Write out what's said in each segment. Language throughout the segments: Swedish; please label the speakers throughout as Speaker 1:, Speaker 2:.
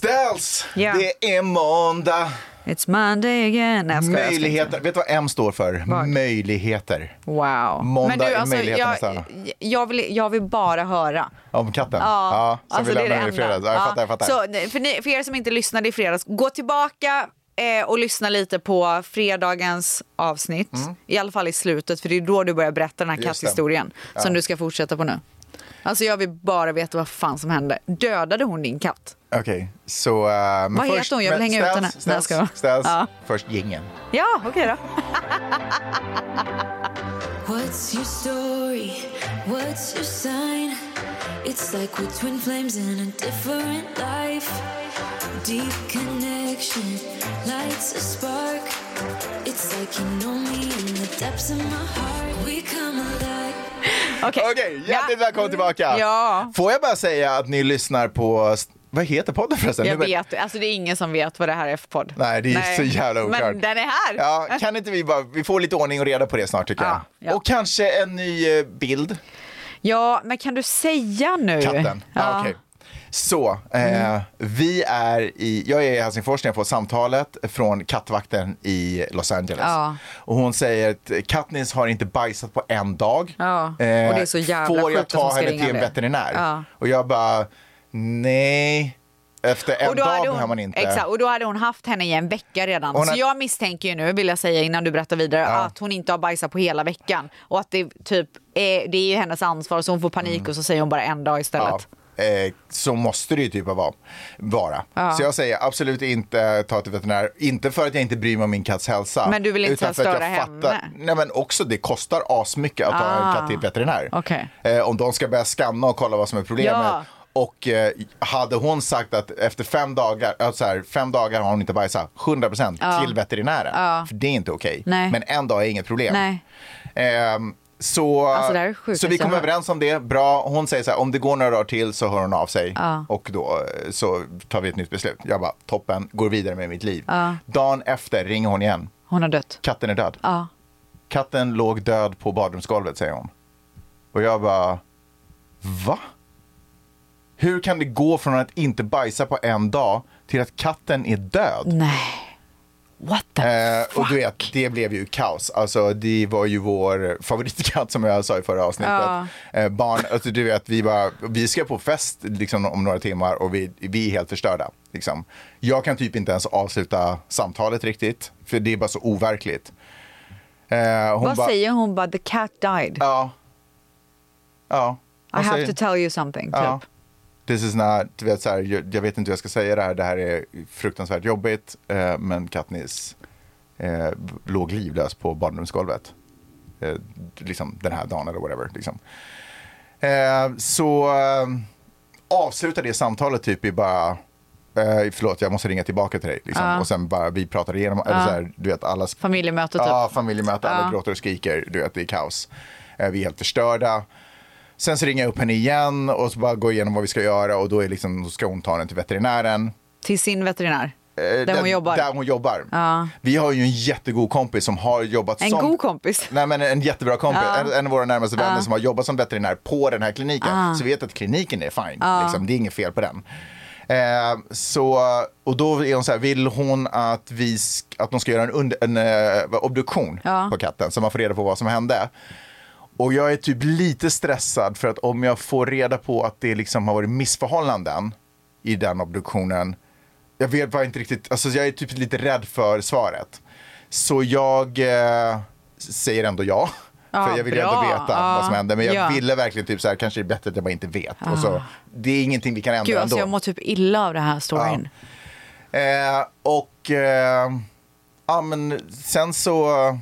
Speaker 1: Ställs!
Speaker 2: Ja.
Speaker 1: Det är måndag.
Speaker 2: It's Monday again. Nej, jag skojar, jag ska inte
Speaker 1: Möjligheter. Vet du vad M står för?
Speaker 2: Vad?
Speaker 1: Möjligheter.
Speaker 2: säga. Wow.
Speaker 1: Måndag
Speaker 3: Men du,
Speaker 1: är
Speaker 3: alltså,
Speaker 1: möjligheternas
Speaker 3: jag,
Speaker 1: stjärna.
Speaker 3: jag, vill, jag vill bara höra. alltså,
Speaker 1: Om katten?
Speaker 3: Ja,
Speaker 1: sen vi lämnar den i fredags. Ja, jag
Speaker 3: Ja.
Speaker 1: fattar, jag fattar.
Speaker 3: Så, nej, för, ni, för er som inte lyssnade i fredags, gå tillbaka eh, och lyssna lite på fredagens avsnitt. I alla fall i slutet, för det är då du börjar berätta den här
Speaker 1: Mm. Just det.
Speaker 3: katthistorien som du ska fortsätta på nu. Alltså jag vill bara veta vad fan som hände. Dödade hon din katt?
Speaker 1: Okej, så... eh, men
Speaker 3: Vad heter
Speaker 1: först-
Speaker 3: hon? Jag vill
Speaker 1: men
Speaker 3: hänga ut henne. Nej, jag
Speaker 1: Ställs,
Speaker 3: skojar.
Speaker 1: ställs, ställs.
Speaker 3: Ja.
Speaker 1: Först gingen.
Speaker 3: Ja, okej då.
Speaker 4: What's your story? What's your sign? It's like we're twin flames in a different life. Deep connection lights a spark. It's like you know me in the depths of my heart. We come alive.
Speaker 3: Okej,
Speaker 1: Okej, hjärtligt välkommen tillbaka.
Speaker 3: Ja.
Speaker 1: Får jag bara säga att ni lyssnar på... Vad heter podden förresten?
Speaker 3: Jag
Speaker 1: Nu-
Speaker 3: vet, alltså det är ingen som vet vad det här är för podd.
Speaker 1: Nej, det är så jävla oklart.
Speaker 3: Men den är här.
Speaker 1: Ja, kan inte vi bara... Vi får lite ordning och reda på det snart tycker jag.
Speaker 3: Ja, ja.
Speaker 1: Och kanske en ny eh, bild.
Speaker 3: Ja, men kan du säga nu?
Speaker 1: Katten? Ja. Ah, okej. Så, eh, vi är i, jag är i Helsingfors när jag får samtalet från kattvakten i Los Angeles.
Speaker 3: Ja.
Speaker 1: Och hon säger att Katniss har inte bajsat på en dag. Eh,
Speaker 3: Ja, och det är så jävla
Speaker 1: Får jag
Speaker 3: sjukt att hon
Speaker 1: ta
Speaker 3: ska
Speaker 1: henne
Speaker 3: ringa
Speaker 1: till en
Speaker 3: om det.
Speaker 1: veterinär?
Speaker 3: Ja.
Speaker 1: Och jag bara, nej. Efter en
Speaker 3: Och då,
Speaker 1: dag
Speaker 3: hade
Speaker 1: behöver man
Speaker 3: hon,
Speaker 1: inte.
Speaker 3: exakt, och då hade hon haft henne i en vecka redan.
Speaker 1: Hon
Speaker 3: Så
Speaker 1: har-
Speaker 3: jag misstänker ju nu, vill jag säga innan du berättar vidare, att hon inte har bajsat på hela veckan. Och att det typ är, det är ju hennes ansvar så hon får panik och så säger hon bara en dag istället.
Speaker 1: Mm. Ja, eh, så måste det ju typ av vara. vara. Så jag säger absolut inte ta till veterinär. Inte för att jag inte bryr mig om min katts hälsa.
Speaker 3: Men du vill inte
Speaker 1: utan för att jag
Speaker 3: störa
Speaker 1: fattar-
Speaker 3: henne.
Speaker 1: Nej men också det kostar asmycket att ta en
Speaker 3: Ah.
Speaker 1: katt till veterinär.
Speaker 3: Okej.
Speaker 1: Eh, om de ska börja skanna och kolla vad som är problemet.
Speaker 3: Ja.
Speaker 1: Och eh, hade hon sagt att efter fem dagar, äh, så här, fem dagar har hon inte bajsat, 100% till veterinären. För det är inte okej.
Speaker 3: Nej.
Speaker 1: Men en dag är inget problem.
Speaker 3: Nej.
Speaker 1: Ehm, så,
Speaker 3: Alltså, det här är sjukt
Speaker 1: så vi
Speaker 3: att jag
Speaker 1: kom
Speaker 3: hör.
Speaker 1: överens om det, bra. Hon säger så här, om det går några dagar till så hör hon av sig. Och då eh, så tar vi ett nytt beslut. Jag bara, toppen, går vidare med mitt liv. Dagen efter ringer hon igen.
Speaker 3: Hon har dött.
Speaker 1: Katten är död.
Speaker 3: Ja.
Speaker 1: Katten låg död på badrumsgolvet, säger hon. Och jag bara, va? Hur kan det gå från att inte bajsa på en dag till att katten är död?
Speaker 3: Nej. What the
Speaker 1: Eh, och
Speaker 3: fuck?
Speaker 1: du vet, det blev ju kaos. Alltså, det var ju vår favoritkatt som jag sa i förra avsnittet. Eh, barn, alltså, du vet, vi, bara, vi ska på fest liksom, om några timmar och vi, vi är helt förstörda. Liksom. Jag kan typ inte ens avsluta samtalet riktigt, för det är bara så overkligt. Eh, hon
Speaker 3: Vad
Speaker 1: bara-
Speaker 3: säger hon? Bara the cat died.
Speaker 1: Ja. Ja.
Speaker 3: I
Speaker 1: Vad
Speaker 3: have
Speaker 1: säger-
Speaker 3: to tell you something. Typ.
Speaker 1: Ja. This is not, du vet, så här, jag, jag vet inte hur jag ska säga det här, det här är fruktansvärt jobbigt, eh, men Katniss eh, låg livlös på badrumsgolvet. Eh, liksom den här dagen eller whatever. Liksom. Eh, så eh, avslutar det samtalet typ i bara, eh, förlåt jag måste ringa tillbaka till dig. Liksom. Och sen bara vi pratar igenom, eller så här, du vet alla sp-
Speaker 3: Familjemöte typ.
Speaker 1: Ja, familjemöte. Alla
Speaker 3: Ja.
Speaker 1: gråter och skriker. Du vet, det är kaos. Eh, Vi är helt förstörda. Sen så ringer jag upp henne igen och så bara går igenom vad vi ska göra och då är liksom, då ska hon ta den till veterinären.
Speaker 3: Till sin veterinär.
Speaker 1: Eh,
Speaker 3: där, hon jobbar.
Speaker 1: Där hon jobbar.
Speaker 3: Ja.
Speaker 1: Vi har ju en jättegod kompis som har jobbat
Speaker 3: En
Speaker 1: som...
Speaker 3: god kompis.
Speaker 1: Nej men en jättebra kompis, en, en av våra närmaste vänner som har jobbat som veterinär på den här kliniken. Så vi vet att kliniken är fine, liksom. det är inget fel på den. Eh, så, och då är hon så här, vill hon att, vi sk- att de ska göra en, und- en eh, obduktion på katten så man får reda på vad som hände. Och jag är typ lite stressad för att om jag får reda på att det liksom har varit missförhållanden i den obduktionen. Jag vet bara inte riktigt, alltså jag är typ lite rädd för svaret. Så jag eh, säger ändå ja.
Speaker 3: Ja,
Speaker 1: för jag vill ju
Speaker 3: bra.
Speaker 1: ändå veta
Speaker 3: Ja.
Speaker 1: vad som hände. Men jag
Speaker 3: Ja.
Speaker 1: ville verkligen typ så här, kanske det är bättre att jag bara inte vet. Och så, det är ingenting vi kan ändra
Speaker 3: Gud,
Speaker 1: ändå.
Speaker 3: alltså jag mår typ illa av den här storyn.
Speaker 1: Eh, och eh, ja, men sen så eh,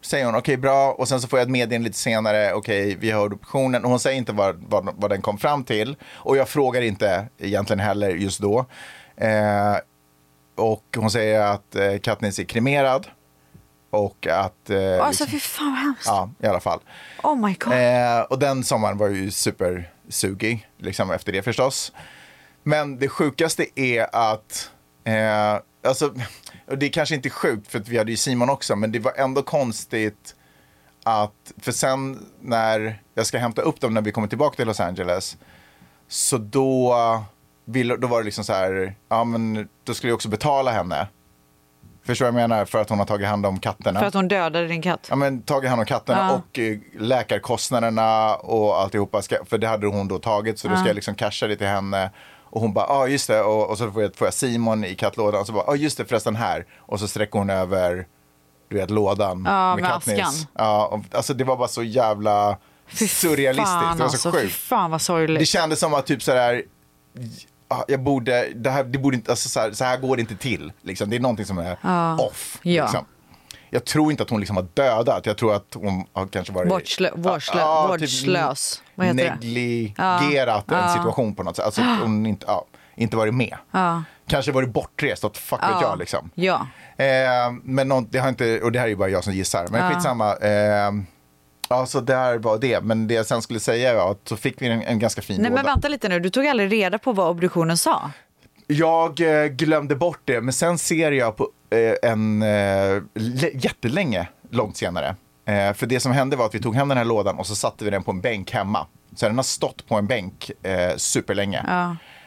Speaker 1: säger hon okej bra och sen så får jag ett meddelande lite senare. Okej, vi har adoptionen. Och Hon säger inte vad, vad, vad den kom fram till och jag frågar inte egentligen heller just då. Eh, och hon säger att eh, Katniss är kremerad och att... Eh, liksom-
Speaker 3: Alltså fy fan vad hemskt.
Speaker 1: ja, i alla fall.
Speaker 3: Oh my god.
Speaker 1: Eh, och den sommaren var ju supersugig, liksom efter det förstås. Men det sjukaste är att, eh, alltså, och det är kanske inte sjukt för att vi hade ju Simon också, men det var ändå konstigt att, för sen när jag ska hämta upp dem när vi kommer tillbaka till Los Angeles, så då ville, då var det liksom så här, ja men då skulle jag också betala henne. Förstår du vad jag menar? För att hon har tagit hand om katterna.
Speaker 3: För att hon dödade din katt.
Speaker 1: Ja, men tagit hand om katterna
Speaker 3: Ja.
Speaker 1: och eh, läkarkostnaderna och alltihopa. Ska, för det hade hon då tagit så då ska jag liksom casha det till henne. Och hon bara, ja ah, just det. Och, och så får jag, får jag Simon i kattlådan. Och så bara, ja ah, just det förresten här. Och så sträcker hon över, du vet lådan
Speaker 3: Ja, med
Speaker 1: Katniss.
Speaker 3: askan.
Speaker 1: Ja, och, alltså det var bara så jävla surrealistiskt. det var så
Speaker 3: alltså, Fy
Speaker 1: sjukt.
Speaker 3: fan vad sorgligt.
Speaker 1: Det kändes som att typ så här, ja, jag borde, det här, det borde inte, alltså så här, så här går det inte till. Liksom. Det är någonting som är off.
Speaker 3: Ja.
Speaker 1: Liksom. Jag tror inte att hon liksom har dödat, jag tror att hon har kanske varit typ
Speaker 3: Vårdslö- vårdslö- vårdslös. Vad heter det?
Speaker 1: negligerat en situation på något sätt. Alltså att hon inte, ja, inte varit med. Kanske varit bortrest, vad fuck vet jag liksom.
Speaker 3: Ja.
Speaker 1: Eh, men någon, det har inte, och det här är ju bara jag som gissar, men skitsamma. Eh, ja, så där var det. Men det jag sen skulle säga var att så fick vi en, en ganska fin
Speaker 3: Nej men
Speaker 1: låda.
Speaker 3: vänta lite nu, du tog aldrig reda på vad obduktionen sa.
Speaker 1: Jag eh, glömde bort det, men sen ser jag på eh, en eh, le- jättelänge, långt senare. Eh, för det som hände var att vi tog hem den här lådan och så satte vi den på en bänk hemma. Så den har stått på en bänk eh, superlänge.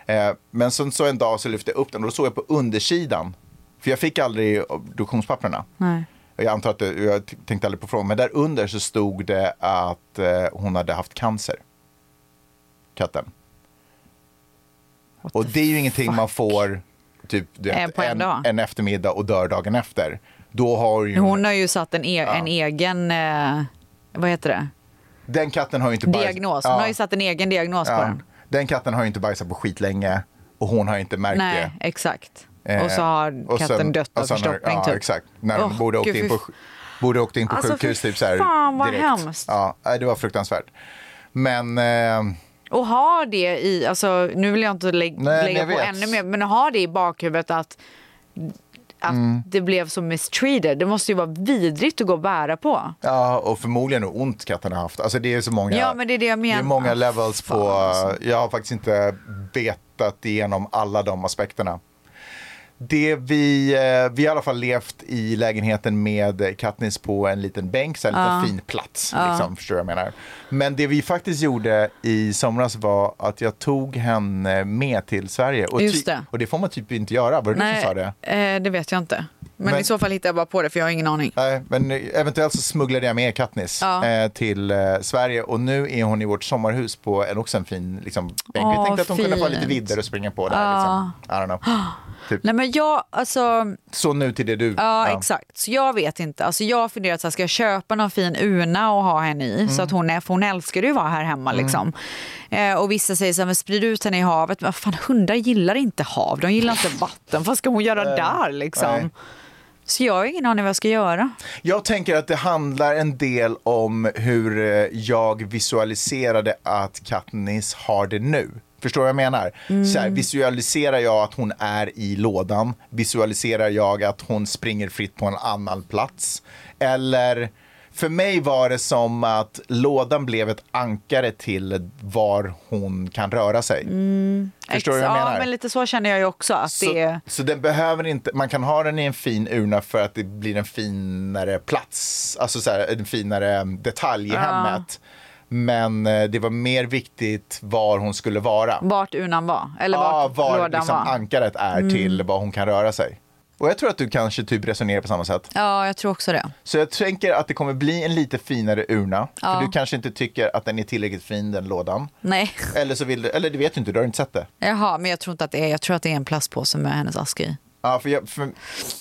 Speaker 1: Eh, men sen så en dag så lyfte jag upp den och då såg jag på undersidan, för jag fick aldrig obduktionspapperna.
Speaker 3: Nej.
Speaker 1: Jag antar att det, jag t- tänkte aldrig på frågan, men där under så stod det att eh, hon hade haft cancer. Katten. Och det är ju ingenting man får typ du
Speaker 3: Eh,
Speaker 1: vet,
Speaker 3: på en
Speaker 1: en,
Speaker 3: dag.
Speaker 1: en eftermiddag och dör dagen efter. Då har ju,
Speaker 3: Hon har ju satt en, e- en egen, eh, vad heter det,
Speaker 1: den katten har ju inte
Speaker 3: diagnos. Hon har ju satt en egen diagnos på
Speaker 1: ja.
Speaker 3: den.
Speaker 1: Den katten har ju inte bajsat på skitlänge och hon har inte märkt
Speaker 3: Nej,
Speaker 1: det.
Speaker 3: exakt.
Speaker 1: Eh,
Speaker 3: och så har
Speaker 1: och
Speaker 3: katten
Speaker 1: sen-
Speaker 3: dött
Speaker 1: och
Speaker 3: av
Speaker 1: sen har-
Speaker 3: förstoppning.
Speaker 1: Ja,
Speaker 3: typ.
Speaker 1: exakt. När de
Speaker 3: Åh,
Speaker 1: borde åkt
Speaker 3: gud,
Speaker 1: in
Speaker 3: fy
Speaker 1: på,
Speaker 3: f-
Speaker 1: borde åkt in på
Speaker 3: Alltså, fy
Speaker 1: sjukhus typ så här
Speaker 3: fan, vad
Speaker 1: direkt.
Speaker 3: hemskt.
Speaker 1: Ja, nej, det var fruktansvärt. Men eh,
Speaker 3: Och ha det i, alltså, nu vill jag inte lä-
Speaker 1: men
Speaker 3: lägga
Speaker 1: jag
Speaker 3: på
Speaker 1: vet.
Speaker 3: ännu mer, men ha det i bakhuvudet att, att
Speaker 1: Mm.
Speaker 3: det blev så mistreated. Det måste ju vara vidrigt att gå och bära på.
Speaker 1: Ja, och förmodligen hur ont katten har haft. Alltså det är så många,
Speaker 3: Ja, men det är det jag menar.
Speaker 1: är många
Speaker 3: Ah,
Speaker 1: levels
Speaker 3: fan,
Speaker 1: på...
Speaker 3: alltså.
Speaker 1: Jag har faktiskt inte betat igenom alla de aspekterna. Det vi, eh, vi har i alla fall levt i lägenheten med Katniss på en liten bänk, så en liten
Speaker 3: Ah.
Speaker 1: fin plats. Liksom, förstår du vad jag menar. Men det vi faktiskt gjorde i somras var att jag tog henne med till Sverige. Och,
Speaker 3: Just det.
Speaker 1: och det får man typ inte göra, var det du som sa det?
Speaker 3: eh, det vet jag inte. Men,
Speaker 1: Men-
Speaker 3: i så fall hittar jag bara på det för jag har ingen aning.
Speaker 1: Nej, men eventuellt så smugglade jag med Katniss
Speaker 3: Ja.
Speaker 1: eh, till eh, Sverige och nu är hon i vårt sommarhus på en också en fin liksom, bänk. Vi
Speaker 3: Åh,
Speaker 1: tänkte att hon kunde få lite
Speaker 3: fint.
Speaker 1: vidder och springa på där. Liksom. I don't know. Typ.
Speaker 3: Nej men jag, alltså,
Speaker 1: Så nu till det du.
Speaker 3: Ja, exakt. Så jag vet inte. Alltså, jag har funderat så här, ska jag köpa någon fin urna och ha henne i? Så att
Speaker 1: Mm.
Speaker 3: hon, är, för hon älskar ju att vara här hemma. Liksom. Eh, och vissa säger så här, men sprid ut henne i havet. Men vad fan, hundar gillar inte hav. De gillar inte vatten. Vad ska hon göra där liksom?
Speaker 1: Eh, nej.
Speaker 3: Så jag har ingen aning vad jag ska göra.
Speaker 1: Jag tänker att det handlar en del om hur eh, jag visualiserade att Katniss har det nu. Förstår du vad jag menar?
Speaker 3: Mm.
Speaker 1: Så här, visualiserar jag att hon är i lådan? Visualiserar jag att hon springer fritt på en annan plats? Eller, för mig var det som att lådan blev ett ankare till var hon kan röra sig. Förstår du vad jag
Speaker 3: Mm. ja,
Speaker 1: menar?
Speaker 3: men lite så känner jag ju också. Att
Speaker 1: Så,
Speaker 3: det är...
Speaker 1: så den behöver inte, man kan ha den i en fin urna för att det blir en finare plats, alltså så här, en finare detalj i hemmet. Men eh, det var mer viktigt var hon skulle vara.
Speaker 3: Vart urnan var, eller
Speaker 1: Ja,
Speaker 3: vart
Speaker 1: var
Speaker 3: lådan
Speaker 1: liksom
Speaker 3: var. Mm.
Speaker 1: ankaret är till var hon kan röra sig. Och jag tror att du kanske typ resonerar på samma sätt.
Speaker 3: Ja, jag tror också det.
Speaker 1: Så jag tänker att det kommer bli en lite finare urna.
Speaker 3: Ja.
Speaker 1: För du kanske inte tycker att den är tillräckligt fin den lådan.
Speaker 3: Nej,
Speaker 1: Eller så vill du, eller det vet du inte, du har inte sett det.
Speaker 3: jaha, men jag tror inte att det är. Jag tror att det är en plastpåse med hennes ask i.
Speaker 1: Ja, för jag, för,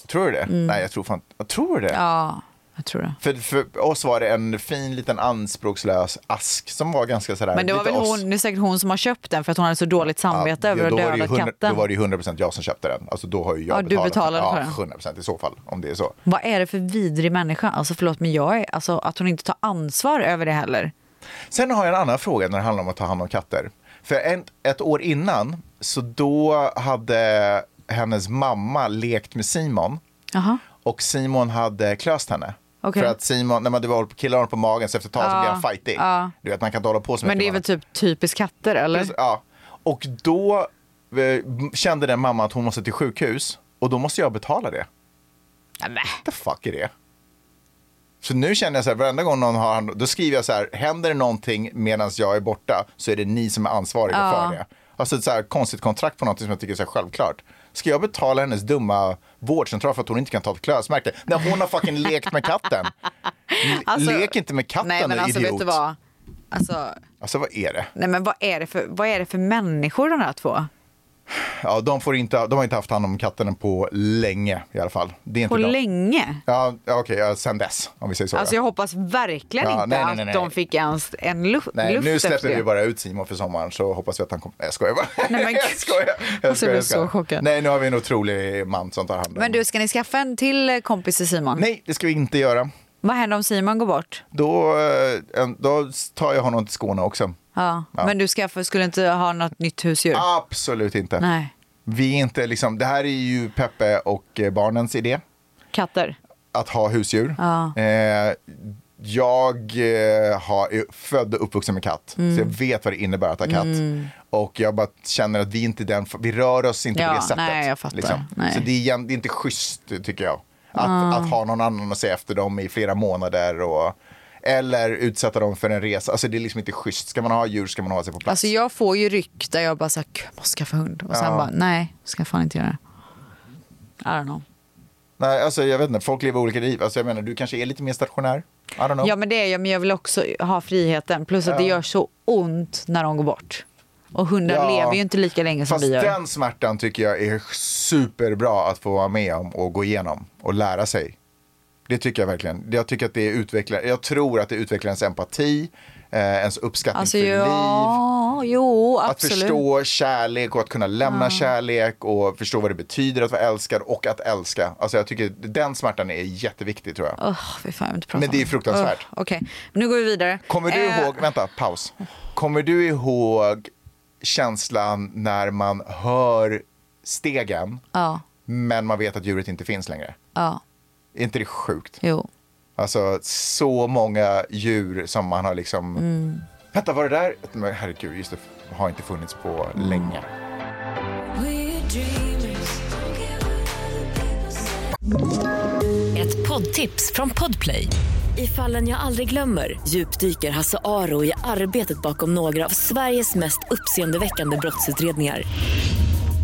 Speaker 1: tror du det?
Speaker 3: Mm.
Speaker 1: Nej, jag tror fan jag tror det.
Speaker 3: Ja, jag tror det.
Speaker 1: För, för oss var det en fin liten anspråkslös ask som var ganska sådär.
Speaker 3: Men det var
Speaker 1: lite
Speaker 3: väl
Speaker 1: oss.
Speaker 3: hon, det är säkert hon som har köpt den för att hon hade så dåligt samvete över att
Speaker 1: då var det ju
Speaker 3: döda
Speaker 1: 100
Speaker 3: katten.
Speaker 1: Då var det ju 100% jag som köpte den. Alltså då har ju jag
Speaker 3: Ja, du
Speaker 1: betalat.
Speaker 3: betalade för
Speaker 1: Ja,
Speaker 3: den.
Speaker 1: 100% i så fall. Om det är så.
Speaker 3: Vad är det för vidrig människa? Alltså förlåt men jag är, alltså att hon inte tar ansvar över det heller.
Speaker 1: Sen har jag en annan fråga när det handlar om att ta hand om katter. För en, ett år innan så då hade hennes mamma lekt med Simon.
Speaker 3: Jaha.
Speaker 1: Och Simon hade klöst henne.
Speaker 3: Okej. Ah,
Speaker 1: För att Simon, när man var på killar honom på magen så efter ett tag så blir han fightig. Du vet man kan alltså, inte hålla på så mycket
Speaker 3: Men det är
Speaker 1: med
Speaker 3: väl typ typiskt katter eller?
Speaker 1: Precis, Ja. Och då eh, kände den mamman att hon måste till sjukhus och då måste jag betala det.
Speaker 3: Nej.
Speaker 1: The fuck är det? Så nu känner jag så här, varenda gång någon har hand då skriver jag så här, händer det någonting medan jag är borta så är det ni som är ansvariga för det. Alltså ett så här konstigt kontrakt på något som jag tycker är så här självklart. Ska jag betala hennes dumma vårdcentral för att hon inte kan ta ett klösmärke? När hon har fucking lekt med katten. L-
Speaker 3: Alltså-
Speaker 1: Lek inte med katten
Speaker 3: Nej men
Speaker 1: du
Speaker 3: alltså
Speaker 1: idiot.
Speaker 3: vet du vad? Alltså,
Speaker 1: Alltså vad är det?
Speaker 3: nej men vad är det för, vad är det för människor de här två?
Speaker 1: Ja, de, får inte, de har inte haft hand om katten på länge i alla fall. Det är inte
Speaker 3: På
Speaker 1: bra.
Speaker 3: länge?
Speaker 1: Ja, ja, okej, ja, sen dess om vi säger så.
Speaker 3: Alltså
Speaker 1: då.
Speaker 3: jag hoppas verkligen
Speaker 1: Ja,
Speaker 3: inte
Speaker 1: nej, nej, nej, nej.
Speaker 3: att de fick ens en lu-
Speaker 1: Nej,
Speaker 3: luft
Speaker 1: nu
Speaker 3: efter
Speaker 1: släpper
Speaker 3: det.
Speaker 1: vi bara ut Simon för sommaren så hoppas vi att han kommer. Nej, jag skojar bara.
Speaker 3: Nej, men
Speaker 1: jag
Speaker 3: gud. Alltså,
Speaker 1: skojar. Jag
Speaker 3: jag
Speaker 1: skojar,
Speaker 3: blev
Speaker 1: jag skojar.
Speaker 3: så chockad.
Speaker 1: Nej, nu har vi en otrolig man som tar hand om
Speaker 3: Men du, ska ni skaffa en till eh, kompis till Simon?
Speaker 1: Nej, det ska vi inte göra.
Speaker 3: Vad händer om Simon går bort?
Speaker 1: Då, eh, en- då tar jag honom till Skåne också.
Speaker 3: Ja.
Speaker 1: Ja.
Speaker 3: Men du skaffa, skulle inte ha något nytt husdjur?
Speaker 1: Absolut inte.
Speaker 3: Nej.
Speaker 1: Vi är inte liksom, det här är ju Peppe och eh, barnens idé.
Speaker 3: Katter?
Speaker 1: att ha husdjur.
Speaker 3: Ja.
Speaker 1: Eh, jag eh, har, är född och uppvuxen med katt, så jag
Speaker 3: Mm.
Speaker 1: vet vad det innebär att ha katt. Och jag bara känner att vi inte är den, vi rör oss inte
Speaker 3: Ja,
Speaker 1: på det sättet. liksom.
Speaker 3: nej, jag fattar. Nej.
Speaker 1: Så det är, igen- det är inte schysst tycker jag. Att, att ha någon annan att se efter dem i flera månader. Och, eller utsätta dem för en resa. Alltså det är liksom inte schysst. Ska man ha djur ska man ha sig på plats.
Speaker 3: Alltså jag får ju ryck där jag bara såhär, "Gud, jag måste skaffa hund. Och sen
Speaker 1: Ja.
Speaker 3: bara, nej, ska jag fan inte göra det. I don't know.
Speaker 1: Nej, alltså jag vet inte, folk lever olika liv. Alltså jag menar, du kanske är lite mer stationär. I don't know.
Speaker 3: Ja men det är jag, men jag vill också ha friheten. Plus att det gör så ont när de går bort. Och hundar
Speaker 1: Ja.
Speaker 3: lever ju inte lika länge som
Speaker 1: Fast
Speaker 3: vi gör.
Speaker 1: den smärtan tycker jag är superbra att få vara med om och gå igenom och lära sig. Det tycker jag verkligen. Jag, tycker att det utvecklar, jag tror att det utvecklar ens empati, eh, ens uppskattning
Speaker 3: Alltså
Speaker 1: för liv.
Speaker 3: ja, jo
Speaker 1: Att
Speaker 3: absolut.
Speaker 1: förstå kärlek och att kunna lämna kärlek och förstå vad det betyder att vara älskad och att älska. Alltså jag tycker den smärtan är jätteviktig tror jag.
Speaker 3: Åh, fy fan, jag vill inte prata
Speaker 1: Men det
Speaker 3: om
Speaker 1: är fruktansvärt.
Speaker 3: Åh, Okej, nu går vi vidare.
Speaker 1: Kommer du
Speaker 3: Eh,
Speaker 1: ihåg, vänta, paus. Kommer du ihåg känslan när man hör stegen
Speaker 3: Ja,
Speaker 1: men man vet att djuret inte finns längre?
Speaker 3: ja,
Speaker 1: Är inte det sjukt?
Speaker 3: jo.
Speaker 1: Alltså så många djur som man har liksom...
Speaker 3: Mm.
Speaker 1: Vänta, var det där? Men herregud, just det. Har inte funnits på
Speaker 3: Mm.
Speaker 1: länge.
Speaker 4: We're dreamers. Don't care what other people say.
Speaker 5: Ett poddtips från Podplay. I fallen jag aldrig glömmer djupdyker Hasse Aro i arbetet bakom några av Sveriges mest uppseendeväckande brottsutredningar.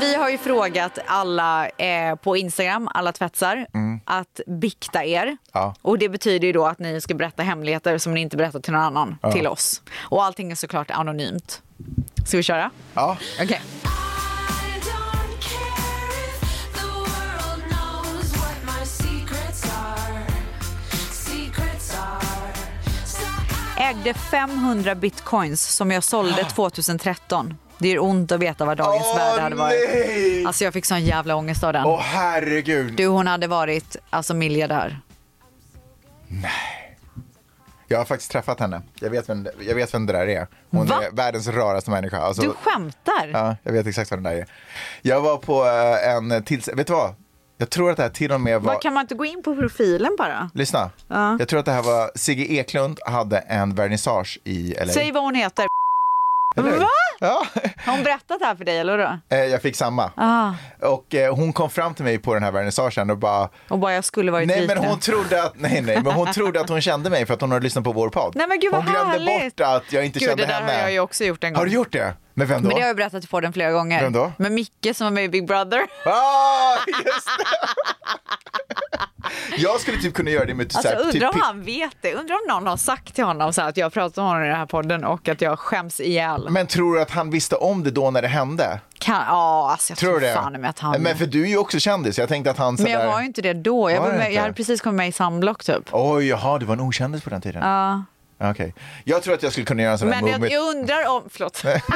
Speaker 3: Vi har ju frågat alla eh, på Instagram, alla tvättsar, att bikta er.
Speaker 1: Mm. Ja.
Speaker 3: Och det betyder ju då att ni ska berätta hemligheter som ni inte berättar till någon annan, till oss. Och allting är såklart anonymt. Ska vi köra?
Speaker 1: Ja,
Speaker 3: Okej.
Speaker 4: I don't care if the world knows what my secrets are. Secrets are. So I
Speaker 3: Ägde 500 bitcoins som jag sålde 2013. Det är ont att veta vad dagens
Speaker 1: Ah. Åh,
Speaker 3: värde hade varit.
Speaker 1: nej!
Speaker 3: Alltså jag fick sån jävla ångest av den.
Speaker 1: åh herregud.
Speaker 3: Du, hon hade varit alltså miljardär.
Speaker 1: Jag har faktiskt träffat henne. Jag vet vem, jag vet vem det där är. Hon
Speaker 3: Va?
Speaker 1: är världens raraste människa. Alltså,
Speaker 3: Du skämtar?
Speaker 1: Ja, jag vet exakt vad den där är. Jag var på eh, en tills... Vet du vad? Jag tror att det här till och med var...
Speaker 3: Vad, kan man inte gå in på profilen bara?
Speaker 1: Lyssna. Jag tror att det här var... Sigge Eklund hade en vernissage i LA.
Speaker 3: Säg vad hon heter.
Speaker 1: Eller hur?
Speaker 3: Va?
Speaker 1: Ja.
Speaker 3: Har hon berättat det här för dig eller då?
Speaker 1: Eh, Jag fick samma.
Speaker 3: Ah.
Speaker 1: Och eh, hon kom fram till mig på den här vernissagen och bara...
Speaker 3: Och bara jag skulle varit
Speaker 1: Nej men,
Speaker 3: liten.
Speaker 1: hon trodde att, nej, nej, men hon trodde att hon kände mig för att hon hade lyssnat på vår podd.
Speaker 3: Nej, men gud, vad
Speaker 1: hon glömde
Speaker 3: härligt.
Speaker 1: bort att jag inte
Speaker 3: Gud,
Speaker 1: kände
Speaker 3: det där
Speaker 1: henne.
Speaker 3: har jag ju också gjort en gång.
Speaker 1: Har du gjort det? Men vem då?
Speaker 3: Men det har jag berättat för den flera gånger.
Speaker 1: Vem då?
Speaker 3: Men Micke som var med i Big Brother.
Speaker 1: Ah, just det. jag skulle typ kunna göra det med
Speaker 3: Alltså
Speaker 1: så här, typ,
Speaker 3: undrar om han vet det. Undrar om någon har sagt till honom så här, att jag pratar om honom i den här podden och att jag skäms ihjäl.
Speaker 1: Men tror du att han visste om det då när det hände?
Speaker 3: Kan, ja, alltså jag
Speaker 1: Tror
Speaker 3: tror
Speaker 1: du det?
Speaker 3: fan med att han...
Speaker 1: Men för du är ju också kändis. Jag tänkte att han så
Speaker 3: Men jag
Speaker 1: där...
Speaker 3: var ju inte det då. Jag,
Speaker 1: Var
Speaker 3: var
Speaker 1: det
Speaker 3: med,
Speaker 1: inte?
Speaker 3: jag hade precis kommit med i Sandblock typ.
Speaker 1: Oj, jaha, du var en okändis på den tiden.
Speaker 3: Ja.
Speaker 1: Okej. Jag tror att jag skulle kunna göra en sån här
Speaker 3: Men jag,
Speaker 1: movement.
Speaker 3: jag undrar om... Förlåt.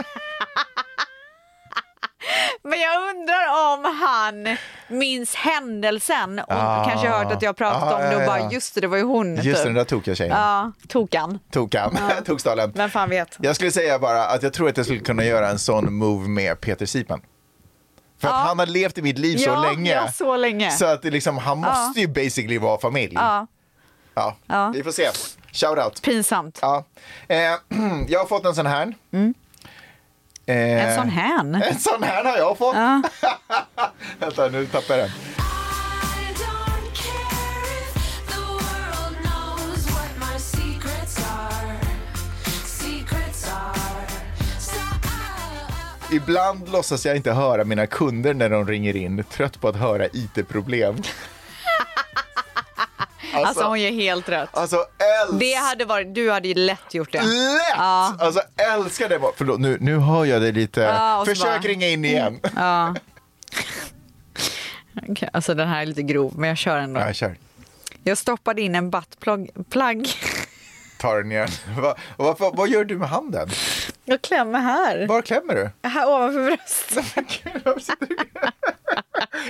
Speaker 3: Men jag undrar om han minns händelsen och
Speaker 1: Ah.
Speaker 3: kanske hört att jag pratat
Speaker 1: Ah,
Speaker 3: om det och
Speaker 1: ja,
Speaker 3: bara
Speaker 1: ja.
Speaker 3: just det, det var ju hon.
Speaker 1: Just
Speaker 3: typ.
Speaker 1: det, den där tokiga tjejen.
Speaker 3: Ja, tokan.
Speaker 1: Tokan. Tokstalen.
Speaker 3: Vem fan vet.
Speaker 1: Jag skulle säga bara att jag tror att jag skulle kunna göra en sån move med Peter Sipen. För att han har levt i mitt liv så
Speaker 3: Ja,
Speaker 1: länge.
Speaker 3: ja, så länge.
Speaker 1: Så att det liksom, han måste ju basically vara familj.
Speaker 3: Ja.
Speaker 1: Ja, Vi får se. Shoutout.
Speaker 3: Pinsamt.
Speaker 1: Ja. Eh, jag har fått en sån här. Eh,
Speaker 3: Mm. En sån här.
Speaker 1: En sån här har jag fått. Vänta, nu tappar jag den.
Speaker 4: I don't care if the world knows what my secrets are. Secrets are. So I-
Speaker 1: Ibland låtsas jag inte höra mina kunder när de ringer in, trött på att höra IT-problem. alltså,
Speaker 3: Alltså hon ger helt rätt.
Speaker 1: alltså
Speaker 3: Det
Speaker 1: älskar
Speaker 3: hade varit, du hade ju lätt gjort det.
Speaker 1: lätt! Alltså älskar det. bara- Förlåt, nu, nu hör jag dig lite.
Speaker 3: Ja, och så
Speaker 1: Försök
Speaker 3: bara- Mm.
Speaker 1: ringa in igen.
Speaker 3: Okej, Alltså den här är lite grov men jag kör ändå.
Speaker 1: Ja, kör.
Speaker 3: Jag stoppade in en buttplug plug.
Speaker 1: Ta den igen. Va, vad- vad- vad gör du med handen?
Speaker 3: Jag klämmer här.
Speaker 1: Var klämmer du?
Speaker 3: Här ovanför bröstet.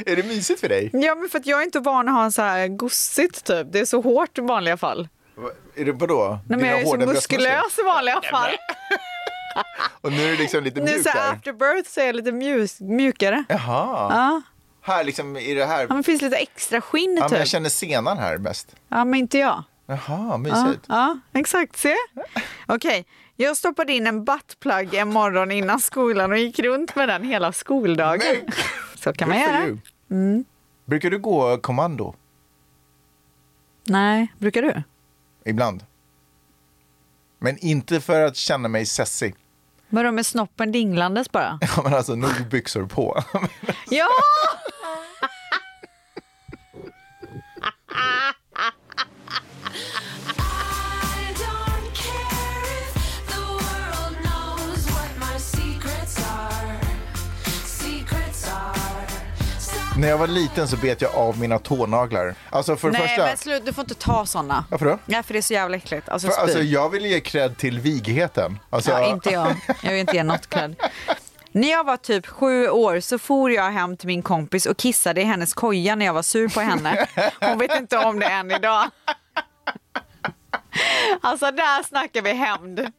Speaker 1: Är det mysigt för dig?
Speaker 3: Ja men för att jag är inte van att ha en så här gossigt typ. Det är så hårt i vanliga fall.
Speaker 1: Va- Är det vadå?
Speaker 3: Nej, men
Speaker 1: Dina
Speaker 3: jag är så
Speaker 1: hårda bröstmuskler?
Speaker 3: muskulös i vanliga fall.
Speaker 1: Och nu är det liksom lite
Speaker 3: Nu
Speaker 1: mjukt
Speaker 3: så här,
Speaker 1: där.
Speaker 3: after birth så är jag lite mjus, mjukare.
Speaker 1: Jaha.
Speaker 3: Ja.
Speaker 1: Här liksom i det här.
Speaker 3: ja men det finns lite extra skinn
Speaker 1: Ja, men jag
Speaker 3: typ.
Speaker 1: känner senan här mest.
Speaker 3: Ja men inte jag.
Speaker 1: Jaha,
Speaker 3: Ja,
Speaker 1: mysigt.
Speaker 3: ja, exakt. Se. Okej, jag stoppade in en buttplug en morgon innan skolan och gick runt med den hela skoldagen.
Speaker 1: Men-
Speaker 3: Så kan man
Speaker 1: Good for
Speaker 3: göra.
Speaker 1: you.
Speaker 3: Mm.
Speaker 1: Brukar du gå kommando
Speaker 3: Nej, brukar du?
Speaker 1: ibland? Men inte för att känna mig sessig.
Speaker 3: Vadå med snoppen dinglandes bara?
Speaker 1: Ja, men alltså nog byxor på.
Speaker 3: Ja!
Speaker 4: I don't care if the world knows what my secrets are. Secrets are. So
Speaker 1: När jag var liten så bet jag av mina tånaglar. Alltså för det
Speaker 3: Nej
Speaker 1: första.
Speaker 3: men slut, du får inte ta sådana.
Speaker 1: Varför då?
Speaker 3: Nej för det är så jävla äckligt. Alltså,
Speaker 1: För,
Speaker 3: spy.
Speaker 1: alltså, jag vill ge cred till vigheten. Alltså,
Speaker 3: Ja, inte jag. Jag vill inte ge något cred. När jag var typ sju år så for jag hem till min kompis och kissade i hennes koja när jag var sur på henne. Hon vet inte om det än idag. Alltså där snackar vi hämnd.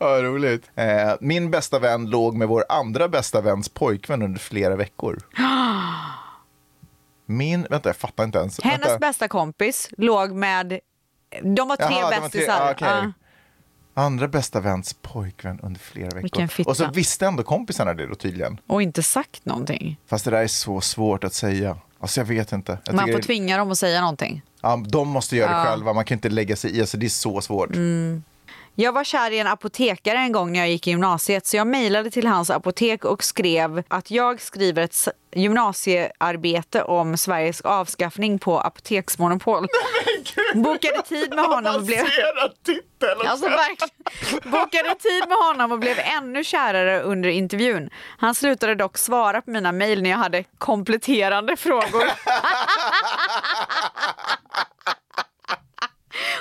Speaker 1: Ja, roligt. Eh, min bästa vän låg med vår andra bästa väns pojkvän under flera veckor. Min, vänta jag fattar inte ens.
Speaker 3: Hennes
Speaker 1: vänta.
Speaker 3: bästa kompis låg med, de var tre
Speaker 1: Jaha, de var tre-
Speaker 3: bästisar.
Speaker 1: ah, okej.
Speaker 3: Ja.
Speaker 1: Andra bästa väns pojkvän under flera veckor.
Speaker 3: Vilken fitta.
Speaker 1: Och så visste ändå kompisarna det då tydligen.
Speaker 3: Och inte sagt någonting.
Speaker 1: Fast det där är så svårt att säga. Alltså jag vet inte. Jag
Speaker 3: Man
Speaker 1: tycker
Speaker 3: får
Speaker 1: det-
Speaker 3: tvinga dem att säga någonting.
Speaker 1: ja, de måste göra det själva, man kan inte lägga sig i. Alltså det är så svårt.
Speaker 3: Mm. Jag var kär i en apotekare en gång när jag gick i gymnasiet så jag mejlade till hans apotek och skrev att jag skriver ett s- gymnasiearbete om Sveriges avskaffning på apoteksmonopol. Bokade tid med honom och Alltså, blev...
Speaker 1: Avancerad titel!
Speaker 3: Alltså verkligen. Bokade tid med honom och blev ännu kärare under intervjun. Han slutade dock svara på mina mejl när jag hade kompletterande frågor.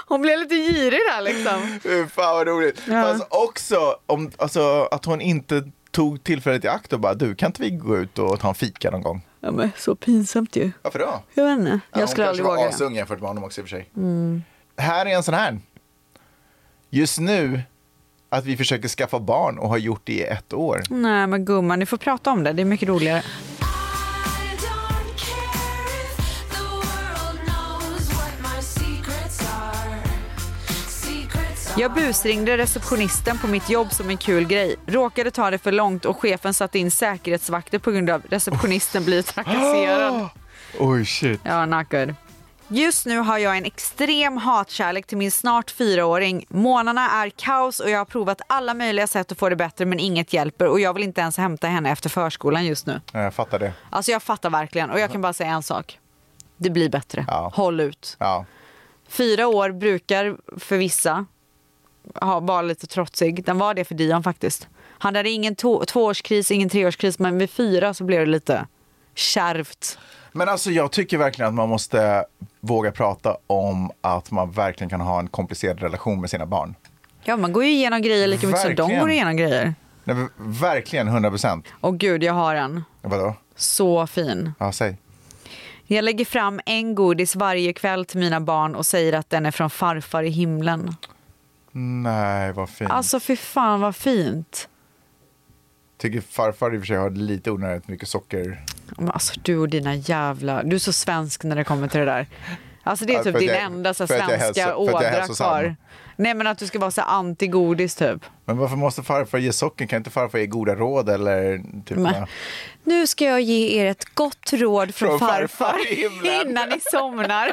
Speaker 3: Hon blev lite girig där liksom.
Speaker 1: Fy Fan vad roligt.
Speaker 3: Ja.
Speaker 1: Fast också om, alltså, att hon inte tog tillfället i akt och bara du kan inte vi gå ut och ta en fika någon gång?
Speaker 3: Ja men så pinsamt ju.
Speaker 1: Varför då?
Speaker 3: Jag vet inte.
Speaker 1: Ja,
Speaker 3: Jag skulle aldrig
Speaker 1: Hon
Speaker 3: våga Mm.
Speaker 1: kanske var
Speaker 3: det.
Speaker 1: asung jämfört med honom också i och för sig. Här är en sån här. Just nu att vi försöker skaffa barn och har gjort det i ett år.
Speaker 3: Nej men gumman, ni får prata om det. Det är mycket roligare.
Speaker 4: I don't care if the world knows what my secrets are. Secrets are.
Speaker 3: Jag busringde receptionisten på mitt jobb som en kul grej. Råkade ta det för långt och chefen satte in säkerhetsvakter på grund av receptionisten blir trakasserad.
Speaker 1: Oj shit.
Speaker 3: Ja, not good. Just nu har jag en extrem hatkärlek till min snart fyraåring. Månaderna är kaos och jag har provat alla möjliga sätt att få det bättre men inget hjälper och jag vill inte ens hämta henne efter förskolan just nu.
Speaker 1: Ja, jag fattar det.
Speaker 3: Alltså jag fattar verkligen och jag kan bara säga en sak. Det blir bättre.
Speaker 1: Ja.
Speaker 3: Håll ut.
Speaker 1: Ja.
Speaker 3: Fyra år brukar för vissa ha, vara lite trotsig. Den var det för Dion faktiskt. Han hade ingen to- tvåårskris, ingen treårskris men vid fyra så blev det lite kärvt.
Speaker 1: Men alltså jag tycker verkligen att man måste våga prata om att man verkligen kan ha en komplicerad relation med sina barn.
Speaker 3: Ja, man går ju igenom grejer lika mycket som de
Speaker 1: Verkligen.
Speaker 3: går igenom grejer.
Speaker 1: Nej, men verkligen 100 procent.
Speaker 3: Och gud, jag har en.
Speaker 1: Vadå?
Speaker 3: Så fin.
Speaker 1: Ja, säg.
Speaker 3: Jag lägger fram en godis varje kväll till mina barn och säger att den är från farfar i
Speaker 1: Mm.
Speaker 3: himlen.
Speaker 1: Nej, vad fint.
Speaker 3: Alltså fy fan vad fint.
Speaker 1: Tycker farfar i och för sig har lite onödigt mycket socker.
Speaker 3: Men Alltså du och dina jävla... Du är så svensk när det kommer till det där. Alltså det är
Speaker 1: Ja,
Speaker 3: typ
Speaker 1: för att
Speaker 3: din
Speaker 1: jag-
Speaker 3: enda så här,
Speaker 1: för att jag är hälso-
Speaker 3: svenska
Speaker 1: för att jag är
Speaker 3: ådra
Speaker 1: hälsosam.
Speaker 3: kvar. Nej men att du ska vara så här antigodis typ.
Speaker 1: Men varför måste farfar ge socken? Kan inte farfar ge goda råd eller typ
Speaker 3: Men, nu ska jag ge er ett gott råd från,
Speaker 1: Från farfar
Speaker 3: farfar,
Speaker 1: i himlen.
Speaker 3: innan ni somnar.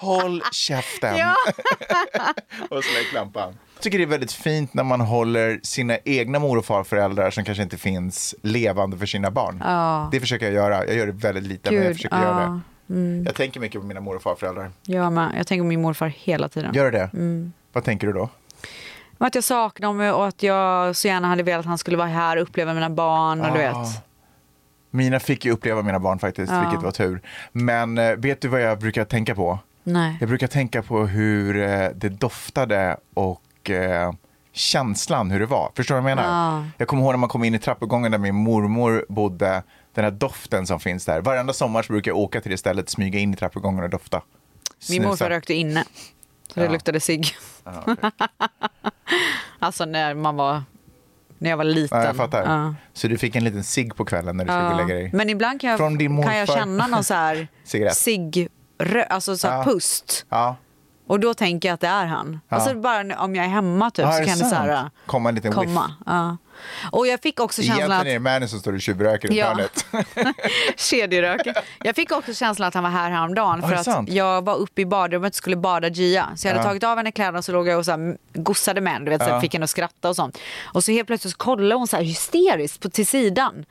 Speaker 1: håll käften
Speaker 3: Ja.
Speaker 1: och släck lampan. Jag tycker det är väldigt fint när man håller sina egna mor och farföräldrar som kanske inte finns levande för sina barn. Det försöker jag göra. Jag gör det väldigt lite, men jag
Speaker 3: Gud,
Speaker 1: försöker
Speaker 3: ja. Mm.
Speaker 1: göra det. Jag tänker mycket på mina mor och farföräldrar.
Speaker 3: Jag, med. jag tänker på min morfar hela tiden.
Speaker 1: Gör du det?
Speaker 3: Mm.
Speaker 1: Vad tänker du då?
Speaker 3: Men Att jag saknar honom och att jag så gärna hade velat att han skulle vara här och uppleva mina barn. Och du
Speaker 1: Ah.
Speaker 3: vet.
Speaker 1: Mina fick ju uppleva mina barn faktiskt,
Speaker 3: Ja.
Speaker 1: vilket var tur. Men eh, vet du vad jag brukar tänka på?
Speaker 3: Nej.
Speaker 1: Jag brukar tänka på hur eh, det doftade och eh, känslan hur det var. Förstår du vad jag menar?
Speaker 3: Ja.
Speaker 1: Jag kommer ihåg när man kom in i trappuppgången där min mormor bodde, den här doften som finns där. Varenda sommar så brukar jag åka till det stället, smyga in i trappuppgången och dofta.
Speaker 3: Min
Speaker 1: Snusa.
Speaker 3: morfar rökte inne. Så det
Speaker 1: Ja.
Speaker 3: luktade cigg.
Speaker 1: Ja, okej.
Speaker 3: Alltså när man var... När jag var liten.
Speaker 1: Ja, jag fattar.
Speaker 3: Ja.
Speaker 1: Så du fick en liten cigg på kvällen när du skulle
Speaker 3: Ja.
Speaker 1: lägga dig?
Speaker 3: Men ibland kan jag,
Speaker 1: Från din
Speaker 3: kan jag
Speaker 1: morfar.
Speaker 3: känna någon så här
Speaker 1: Cigarett.
Speaker 3: cigg... rö- Alltså så här
Speaker 1: Ja.
Speaker 3: pust.
Speaker 1: Ja.
Speaker 3: Och då tänker jag att det är han.
Speaker 1: Ja.
Speaker 3: Alltså bara n- om jag är hemma typ
Speaker 1: Ja, är
Speaker 3: så
Speaker 1: det
Speaker 3: kan det så här eh,
Speaker 1: sant? Komma en liten whiff.
Speaker 3: komma. Ja. Och jag fick också känslan
Speaker 1: Egentligen
Speaker 3: att...
Speaker 1: är det mannen som står och tjuvröker i
Speaker 3: Ja.
Speaker 1: hörnet.
Speaker 3: Kedjeröken. Jag fick också känslan att han var här häromdagen
Speaker 1: Ja,
Speaker 3: för
Speaker 1: det är
Speaker 3: att
Speaker 1: sant.
Speaker 3: jag var uppe i badrummet och skulle bada Gia. Så jag hade
Speaker 1: Ja.
Speaker 3: tagit av henne kläderna och så låg jag och så här gossade med henne. Du vet, så här
Speaker 1: Ja.
Speaker 3: fick henne att skratta och sånt. Och så helt plötsligt så kollade hon så här hysteriskt på, till sidan.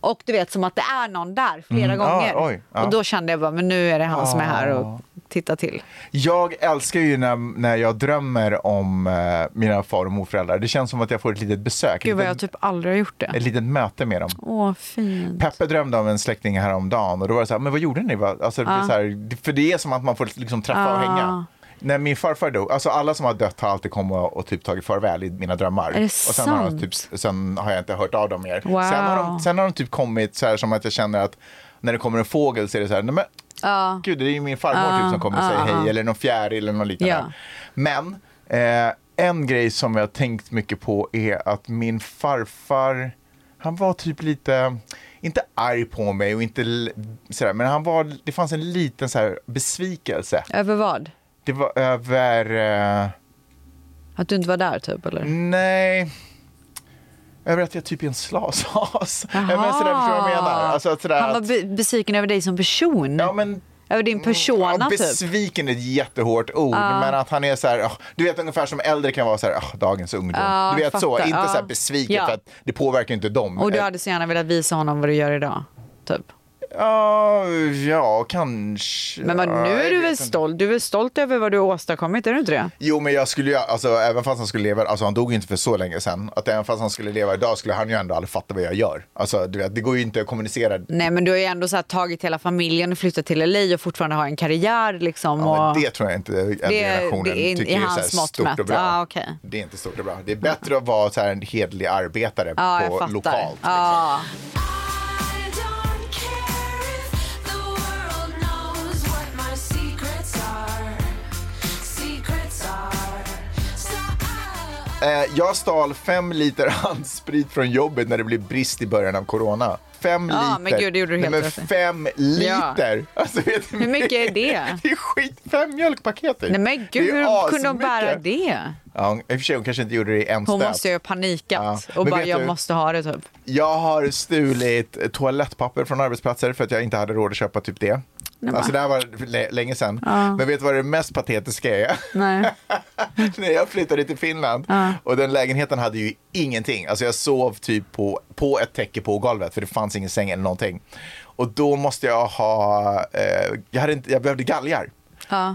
Speaker 3: Och du vet som att det är någon där flera
Speaker 1: Mm, ja,
Speaker 3: gånger.
Speaker 1: oj, ja. Ah.
Speaker 3: Och då kände jag bara, men nu är det han som är här och tittar till.
Speaker 1: Jag älskar ju när, när jag drömmer om eh, mina far och morföräldrar. Det känns som att jag får ett litet besök,
Speaker 3: Gud vad
Speaker 1: ett,
Speaker 3: jag
Speaker 1: litet,
Speaker 3: typ aldrig har gjort det.
Speaker 1: ett litet möte med dem.
Speaker 3: Åh, fint.
Speaker 1: Peppe drömde om en släkting häromdagen och då var det så här, men vad gjorde ni? va?" Alltså, det blir så här, för det är som att man får liksom träffa och
Speaker 3: Ah.
Speaker 1: hänga. När min farfar dog, alltså alla som har dött har alltid kommit och, och typ tagit farväl i mina drömmar.
Speaker 3: det
Speaker 1: och sen har, de
Speaker 3: sant?
Speaker 1: typ, sen har jag inte hört av dem mer.
Speaker 3: Wow.
Speaker 1: Sen, har de, sen har de typ kommit så här som att jag känner att när det kommer en fågel så är det så här, nej men
Speaker 3: Ja.
Speaker 1: Gud, det är ju min farmor typ, som kommer och säger hej, eller någon fjäril eller något liknande.
Speaker 3: Ja.
Speaker 1: Men eh, en grej som jag har tänkt mycket på är att min farfar, han var typ lite, inte arg på mig och inte l- sådär, men han var, det fanns en liten så här besvikelse.
Speaker 3: Över vad?
Speaker 1: Det var över... Eh,
Speaker 3: Att du inte var där typ eller?
Speaker 1: Nej. Över att jag typ är en slashas. Ja, men
Speaker 3: Jaha.
Speaker 1: sådär, förstår du vad jag menar? Alltså, att sådär,
Speaker 3: han var
Speaker 1: att-
Speaker 3: be- besviken över dig som person.
Speaker 1: ja, men,
Speaker 3: Över Mm. din persona
Speaker 1: ja,
Speaker 3: typ.
Speaker 1: Besviken är ett jättehårt ord, men att han är så här, ah, du vet ungefär som äldre kan vara så här, ah, dagens ungdom.
Speaker 3: Ja,
Speaker 1: du vet så,
Speaker 3: fattar.
Speaker 1: inte
Speaker 3: Ja.
Speaker 1: så här besviken
Speaker 3: Ja.
Speaker 1: för att det påverkar inte dem.
Speaker 3: Och du
Speaker 1: Eh,
Speaker 3: hade så gärna velat visa honom vad du gör idag. Typ.
Speaker 1: Ja, ja, kanske.
Speaker 3: Men, men
Speaker 1: Ja,
Speaker 3: nu
Speaker 1: jag
Speaker 3: är du
Speaker 1: vet
Speaker 3: väl
Speaker 1: inte.
Speaker 3: stolt? Du är väl stolt över vad du har åstadkommit, är du inte det?
Speaker 1: Jo, men jag skulle ju, alltså även fast han skulle leva, alltså han dog ju inte för så länge sedan. Att även fast han skulle leva idag skulle han ju ändå aldrig fatta vad jag gör. Alltså, du vet, det går ju inte att kommunicera
Speaker 3: Nej men du har ju ändå så här tagit hela familjen och flyttat till LA och fortfarande har en karriär liksom.
Speaker 1: Ja,
Speaker 3: och...
Speaker 1: men det tror jag inte äldre
Speaker 3: det är
Speaker 1: generationen
Speaker 3: in- i
Speaker 1: tycker är så här
Speaker 3: hans mått
Speaker 1: stort och
Speaker 3: mätt.
Speaker 1: bra.
Speaker 3: Ah, okej.
Speaker 1: Det är inte stort och bra. Det är bättre att vara så här en hedlig arbetare
Speaker 3: ja, jag
Speaker 1: på
Speaker 3: fattar.
Speaker 1: lokalt. Liksom.
Speaker 3: ja.
Speaker 4: I don't care if the world knows what my secrets are. Secrets are. So I.
Speaker 1: Eh, jag stal fem liter handsprit från jobbet när det blev brist i början av corona. Fem
Speaker 3: Ja,
Speaker 1: liter.
Speaker 3: men gud, det gjorde du helt
Speaker 1: Nej,
Speaker 3: rätt i.
Speaker 1: men fem liter! Alltså, vet du
Speaker 3: Hur mycket är det?
Speaker 1: Det är skit. Fem mjölkpaket i.
Speaker 3: Nej men
Speaker 1: Det är
Speaker 3: gud, hur kunde de
Speaker 1: asmycket.
Speaker 3: bära det?
Speaker 1: Ja, hon- I och för sig, hon kanske inte gjorde det i en
Speaker 3: Hon
Speaker 1: stöt.
Speaker 3: måste ju ha panikat
Speaker 1: Ja.
Speaker 3: och
Speaker 1: Men
Speaker 3: bara
Speaker 1: vet
Speaker 3: jag
Speaker 1: du-
Speaker 3: måste ha det typ.
Speaker 1: Jag har stulit toalettpapper från arbetsplatser för att jag inte hade råd att köpa typ det. alltså det här var lä- länge sedan. Men vet du vad det mest patetiska är?
Speaker 3: Nej.
Speaker 1: När jag flyttade till Finland och den lägenheten hade ju ingenting. Alltså jag sov typ på, på ett täcke på golvet för det fanns ingen säng eller någonting. Och då måste jag ha, eh, jag, hade inte, jag behövde galgar.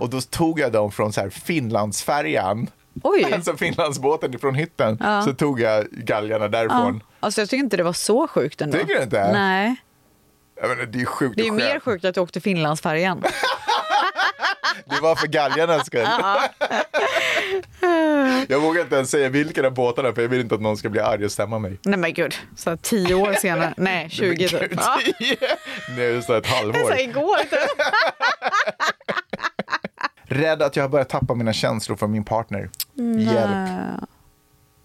Speaker 1: Och då tog jag dem från så här Finlandsfärjan,
Speaker 3: Oj.
Speaker 1: alltså Finlandsbåten från hytten. Så tog jag galgarna därifrån.
Speaker 3: Alltså jag tycker inte det var så sjukt ändå.
Speaker 1: Tycker du inte?
Speaker 3: Nej.
Speaker 1: Jag menar, det är sjukt
Speaker 3: Det är ju
Speaker 1: och
Speaker 3: mer
Speaker 1: skönt.
Speaker 3: sjukt att du åkte Finlandsfärjan.
Speaker 1: Det var för galgarnas skull. jag vågar inte ens säga vilken av båtarna för jag vill inte att någon ska bli arg och stämma mig.
Speaker 3: Nej men gud, så här tio år senare. Nej, 20 typ. Ja.
Speaker 1: Nu så ett
Speaker 3: Det är så
Speaker 1: halvår.
Speaker 3: här igår typ.
Speaker 1: Rädd att jag har börjat tappa mina känslor för min partner. Hjälp.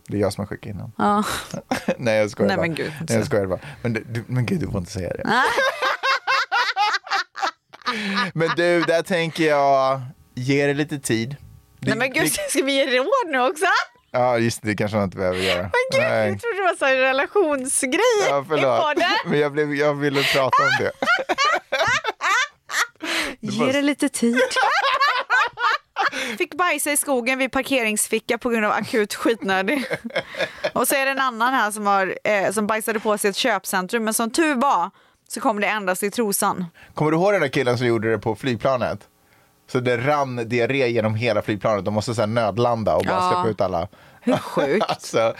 Speaker 1: Det är jag som har skickat innan.
Speaker 3: Eh, Ja.
Speaker 1: Nej jag skojar
Speaker 3: Nej,
Speaker 1: bara.
Speaker 3: men gud,
Speaker 1: Nej, jag skojar bara. Men, det- du, men gud du får inte säga det. Men du, där tänker jag, ge det lite tid. Det-
Speaker 3: Nej men gud,
Speaker 1: det-
Speaker 3: ska vi ge råd nu också?
Speaker 1: Ja, just det, det kanske man inte behöver göra.
Speaker 3: Men gud,
Speaker 1: Nej.
Speaker 3: jag trodde det var så här relationsgrej
Speaker 1: Ja,
Speaker 3: i
Speaker 1: förlåt.
Speaker 3: podden.
Speaker 1: Men jag, blev, jag ville prata om det.
Speaker 3: Ge det lite tid. Fick bajsa i skogen vid parkeringsficka på grund av akut skitnödig. Och så är det en annan här som, har, eh, som bajsade på sig i ett köpcentrum, men som tur var så kom det endast i trosan.
Speaker 1: Kommer du ihåg den där killen som gjorde det på flygplanet? Så det rann diarré genom hela flygplanet. De måste så här nödlanda och bara
Speaker 3: Ja.
Speaker 1: släppa ut alla.
Speaker 3: Hur sjukt?
Speaker 1: alltså,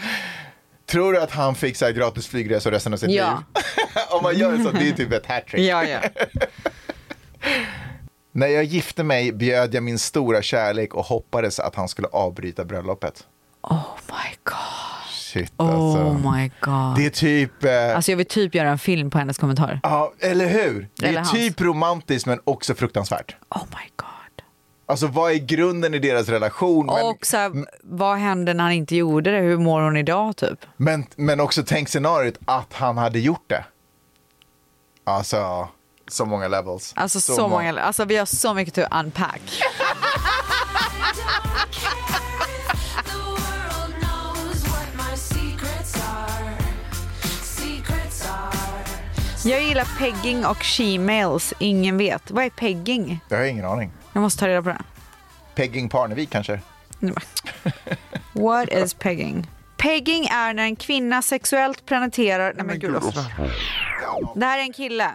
Speaker 1: tror du att han fick så här gratis flygresor resten av sitt
Speaker 3: Ja.
Speaker 1: liv? Om man gör så, det är typ ett hattrick.
Speaker 3: ja.
Speaker 1: När jag gifte mig bjöd jag min stora kärlek och hoppades att han skulle avbryta bröllopet.
Speaker 3: Oh my god.
Speaker 1: Shit alltså.
Speaker 3: Oh my god.
Speaker 1: Det är typ... Eh,
Speaker 3: Alltså jag vill typ göra en film på hennes kommentar.
Speaker 1: ja, eller hur? Det
Speaker 3: Eller
Speaker 1: är
Speaker 3: hans.
Speaker 1: typ romantiskt men också fruktansvärt.
Speaker 3: Oh my god.
Speaker 1: Alltså vad är grunden i deras relation? Men,
Speaker 3: och så här, vad hände när han inte gjorde det? Hur mår hon idag typ?
Speaker 1: men, men också tänk scenariot att han hade gjort det. Alltså, så många levels.
Speaker 3: Alltså så, många, alltså vi har så mycket to unpack.
Speaker 4: The world knows what my secrets are. Secrets are.
Speaker 3: Jag gillar pegging och she-mails, ingen vet. Vad är pegging?
Speaker 1: Jag har ingen aning.
Speaker 3: Jag måste ta reda på det.
Speaker 1: Pegging Parnevik kanske?
Speaker 3: Nej, men. What is pegging? Pegging är när en kvinna sexuellt prenumererar... Nej men gud vad förlåt. Det här är en kille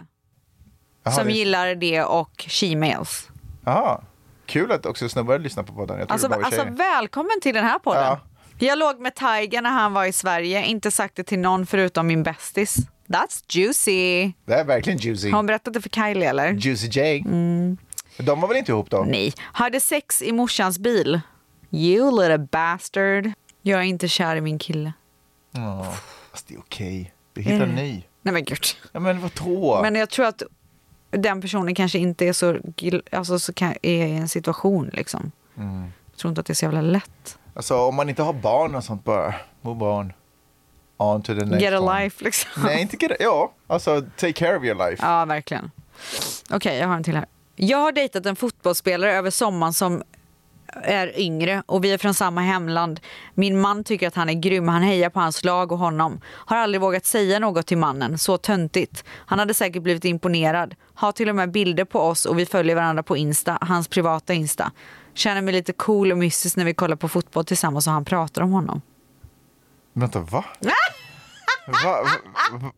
Speaker 1: Jaha,
Speaker 3: som
Speaker 1: det-
Speaker 3: gillar det och she-mails.
Speaker 1: Jaha. Kul att också snubbar lyssnar på podden. Jag tror det
Speaker 3: Alltså,
Speaker 1: bara var
Speaker 3: alltså
Speaker 1: tjejer.
Speaker 3: välkommen till den här podden.
Speaker 1: Ja.
Speaker 3: Jag låg med Tiger när han var i Sverige, inte sagt det till någon förutom min bästis. That's juicy.
Speaker 1: Det är verkligen juicy.
Speaker 3: Har Mm. hon berättat det för Kylie eller?
Speaker 1: Juicy J. Men De var väl inte ihop då?
Speaker 3: Nej. Hade sex i morsans bil. You little bastard. Jag är inte kär i min kille.
Speaker 1: Ja. Fast det är okej. Vi hittar en ny.
Speaker 3: Nej men gud.
Speaker 1: Ja, men vadå?
Speaker 3: Mm. Men jag tror att den personen kanske inte är så, gil- alltså, så kan, är i en situation liksom.
Speaker 1: Mm.
Speaker 3: Jag tror inte att det är så jävla lätt.
Speaker 1: Alltså om man inte har barn och sånt bara, move on. On to the next
Speaker 3: Get a
Speaker 1: one.
Speaker 3: life liksom.
Speaker 1: Nej, inte get a, ja, alltså take care of your life.
Speaker 3: Ja, verkligen. Okej, jag har en till här. Jag har dejtat en fotbollsspelare över sommaren som är yngre och vi är från samma hemland. Min man tycker att han är grym, han hejar på hans lag och honom. Har aldrig vågat säga något till mannen, så töntigt. Han hade säkert blivit imponerad. Har till och med bilder på oss och vi följer varandra på Insta, hans privata Insta. Känner mig lite cool och mystisk när vi kollar på fotboll tillsammans och han pratar om honom.
Speaker 1: Vänta, va? va, va, va?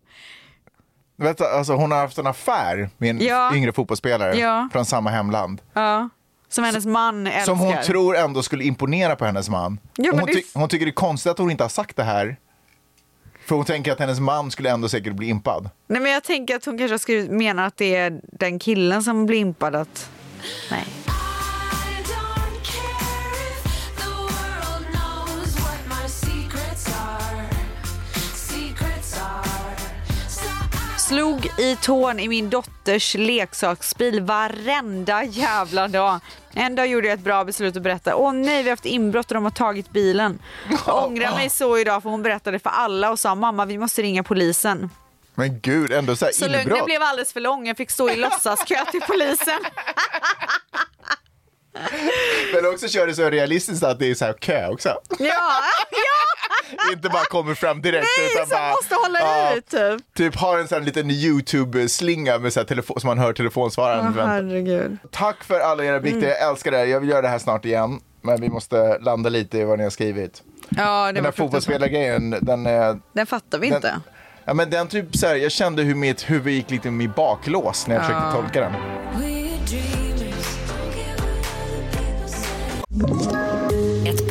Speaker 1: Vänta, alltså hon har haft en affär med en
Speaker 3: Ja.
Speaker 1: yngre fotbollsspelare
Speaker 3: Ja.
Speaker 1: från samma hemland.
Speaker 3: Ja. Som hennes man älskar.
Speaker 1: Som hon tror ändå skulle imponera på hennes man.
Speaker 3: Ja,
Speaker 1: Och
Speaker 3: men
Speaker 1: hon,
Speaker 3: det-
Speaker 1: ty- hon tycker det är konstigt att hon inte har sagt det här. För hon tänker att hennes man skulle ändå säkert bli impad.
Speaker 3: Nej men jag tänker att hon kanske har skrivit, menar att det är den killen som blir impad att... Nej.
Speaker 4: I don't care if the world knows what my secrets are. Secrets are. So I
Speaker 3: Slog i tån i min dotters leksaksbil varenda jävla dag. En dag gjorde jag ett bra beslut och berättade. Åh nej, vi har haft inbrott och de har tagit bilen. Jag ångrar mig så idag för hon berättade för alla och sa mamma vi måste ringa polisen.
Speaker 1: Men gud, ändå så här
Speaker 3: Så
Speaker 1: inbrott.
Speaker 3: lögnen blev alldeles för lång. Jag fick stå i låtsaskö till polisen.
Speaker 1: Men också kör det så realistiskt att det är så här kö också.
Speaker 3: Ja,
Speaker 1: inte bara kommer fram direkt.
Speaker 3: nej,
Speaker 1: utan
Speaker 3: som
Speaker 1: bara,
Speaker 3: måste hålla
Speaker 1: ja,
Speaker 3: ut typ.
Speaker 1: Typ har en sån här liten YouTube-slinga med så här telefon, som man hör telefonsvararen.
Speaker 3: Åh,
Speaker 1: vänta.
Speaker 3: herregud.
Speaker 1: Tack för alla era
Speaker 3: Mm.
Speaker 1: bikter, jag älskar det här. Jag vill göra det här snart igen. Men vi måste landa lite i vad ni har skrivit.
Speaker 3: Ja, det
Speaker 1: Den
Speaker 3: var
Speaker 1: här
Speaker 3: fruktansvärt.
Speaker 1: fotbollsspelargrejen, den är...
Speaker 3: Den fattar vi inte.
Speaker 1: Den, ja, men den typ så här, jag kände hur mitt huvud gick lite i baklås när jag försökte tolka den. Äh,
Speaker 4: we're dreamers. Don't care what other people say.
Speaker 5: Ett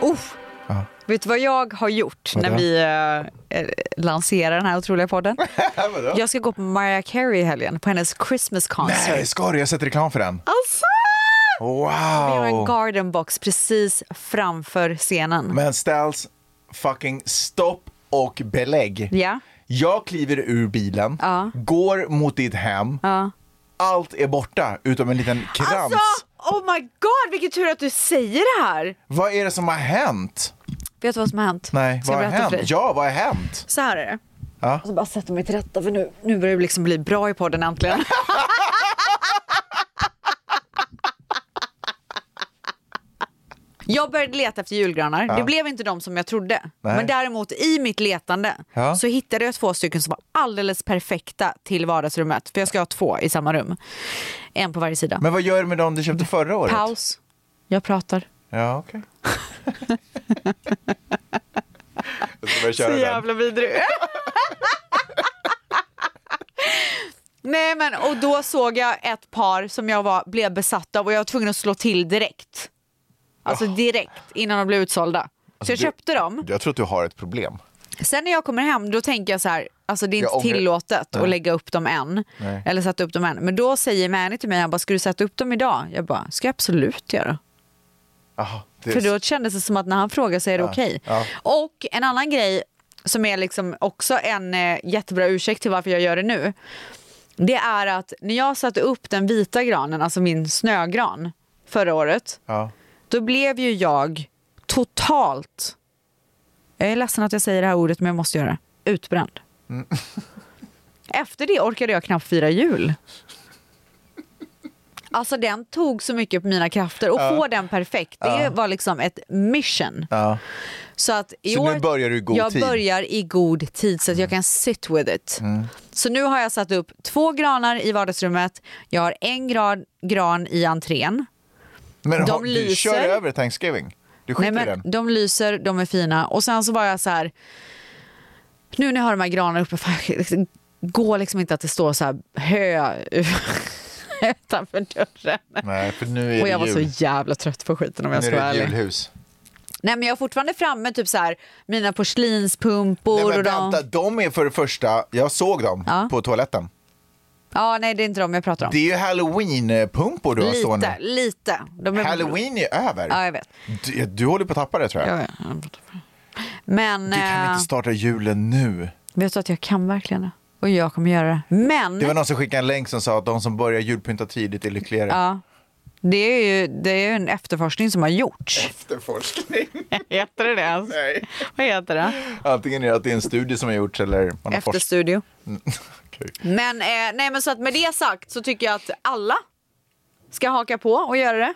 Speaker 3: Oh, Vet du vad jag har gjort när
Speaker 1: Vadå?
Speaker 3: vi eh, eh, lanserar den här otroliga podden?
Speaker 1: Vadå?
Speaker 3: jag ska gå på Mariah Carey i helgen, på hennes Christmas concert.
Speaker 1: Nej, ska du? Jag sätter reklam för den.
Speaker 3: Alltså! Vi har en
Speaker 1: Wow!
Speaker 3: garden box precis framför scenen.
Speaker 1: Men ställs fucking stopp och belägg.
Speaker 3: Ja.
Speaker 1: Jag kliver ur bilen, går mot ditt hem. Allt är borta utom en liten krans.
Speaker 3: Alltså, oh my god, vilken tur att du säger det här!
Speaker 1: Vad är det som har hänt?
Speaker 3: Vet du vad som har hänt?
Speaker 1: Nej,
Speaker 3: Ska
Speaker 1: vad
Speaker 3: jag
Speaker 1: har
Speaker 3: berätta för
Speaker 1: hänt?
Speaker 3: dig?
Speaker 1: Ja, vad har hänt?
Speaker 3: Så här är det. Och så bara sätter mig till rätta för nu, nu börjar det liksom bli bra i podden äntligen. Jag började leta efter julgranar. Det blev inte de som jag trodde.
Speaker 1: Nej.
Speaker 3: Men däremot i mitt letande
Speaker 1: Ja.
Speaker 3: så hittade jag två stycken som var alldeles perfekta till vardagsrummet. För jag ska ha två i samma rum. En på varje sida.
Speaker 1: Men vad gör du med dem du köpte förra året?
Speaker 3: Paus. Jag pratar.
Speaker 1: Ja, okej. jag ska börja köra
Speaker 3: Så
Speaker 1: den.
Speaker 3: jävla vidrig. Nej men och då såg jag ett par som jag var, blev besatt av och jag var tvungen att slå till direkt. Alltså direkt innan de blev utsålda. Så jag
Speaker 1: du-
Speaker 3: köpte dem.
Speaker 1: Jag tror att du har ett problem.
Speaker 3: Sen när jag kommer hem då tänker jag så här, alltså det är
Speaker 1: Jag
Speaker 3: inte
Speaker 1: ångrar-
Speaker 3: tillåtet att lägga upp dem än.
Speaker 1: Nej.
Speaker 3: Eller sätta upp dem än. Men då säger Mani till mig, han bara ska du sätta upp dem idag? Jag bara, ska jag absolut göra.
Speaker 1: Aha, det
Speaker 3: För då kändes det som att när han frågar så är det okej.
Speaker 1: ja.
Speaker 3: Och en annan grej som är liksom också en eh, jättebra ursäkt till varför jag gör det nu. Det är att när jag satte upp den vita granen, alltså min snögran, förra året.
Speaker 1: ja.
Speaker 3: Då blev ju jag totalt, jag är ledsen att jag säger det här ordet men jag måste göra det, utbränd.
Speaker 1: Mm.
Speaker 3: Efter det orkade jag knappt fira jul. Alltså den tog så mycket på mina krafter och få den perfekt, det var liksom ett mission.
Speaker 1: Ja.
Speaker 3: Så att i
Speaker 1: Så nu
Speaker 3: år,
Speaker 1: börjar du i god
Speaker 3: jag
Speaker 1: tid? Mm.
Speaker 3: börjar i god tid så att jag kan sit with it. Så nu har jag satt upp två granar i vardagsrummet, jag har en gran, gran i entrén.
Speaker 1: Men
Speaker 3: De
Speaker 1: har, du
Speaker 3: lyser.
Speaker 1: kör över Thanksgiving? Du skiter
Speaker 3: Nej,
Speaker 1: i
Speaker 3: men
Speaker 1: den?
Speaker 3: de lyser, de är fina. Och sen så var jag så här, nu när jag har de här granarna uppe, fan, det går liksom inte att det står så här hö utanför dörren.
Speaker 1: Nej, för nu är
Speaker 3: Och jag
Speaker 1: det
Speaker 3: var så
Speaker 1: jul.
Speaker 3: jävla trött på skiten om jag
Speaker 1: Nu är
Speaker 3: ska vara
Speaker 1: det
Speaker 3: ärlig.
Speaker 1: julhus.
Speaker 3: Nej men jag är fortfarande framme typ så här, mina porslinspumpor
Speaker 1: Nej, men
Speaker 3: och de...
Speaker 1: vänta, de är för det första, jag såg dem
Speaker 3: Ja.
Speaker 1: på toaletten.
Speaker 3: Ja nej det är inte de jag pratar om.
Speaker 1: Det är ju halloween-pumpor du har
Speaker 3: Lite,
Speaker 1: stående.
Speaker 3: lite. De är...
Speaker 1: Halloween är över.
Speaker 3: Ja jag vet.
Speaker 1: Du, du håller på att tappa det tror jag.
Speaker 3: Jag vet. Jag pratar för- Men
Speaker 1: Du kan
Speaker 3: eh,
Speaker 1: inte starta julen nu.
Speaker 3: vet du att jag kan verkligen det? Och jag kommer göra det. Men
Speaker 1: Det var någon som skickade en länk som sa att de som börjar julpynta tidigt är lyckligare.
Speaker 3: Ja. Det är ju det är ju en efterforskning som har gjorts.
Speaker 1: Efterforskning.
Speaker 3: Heter det det ens?
Speaker 1: Nej.
Speaker 3: Vad heter det?
Speaker 1: Antingen är det att det är en studie som har gjorts eller man har forskat.
Speaker 3: Efterstudio.
Speaker 1: Okej.
Speaker 3: Men, eh, nej, men så att med det sagt så tycker jag att alla ska haka på och göra det.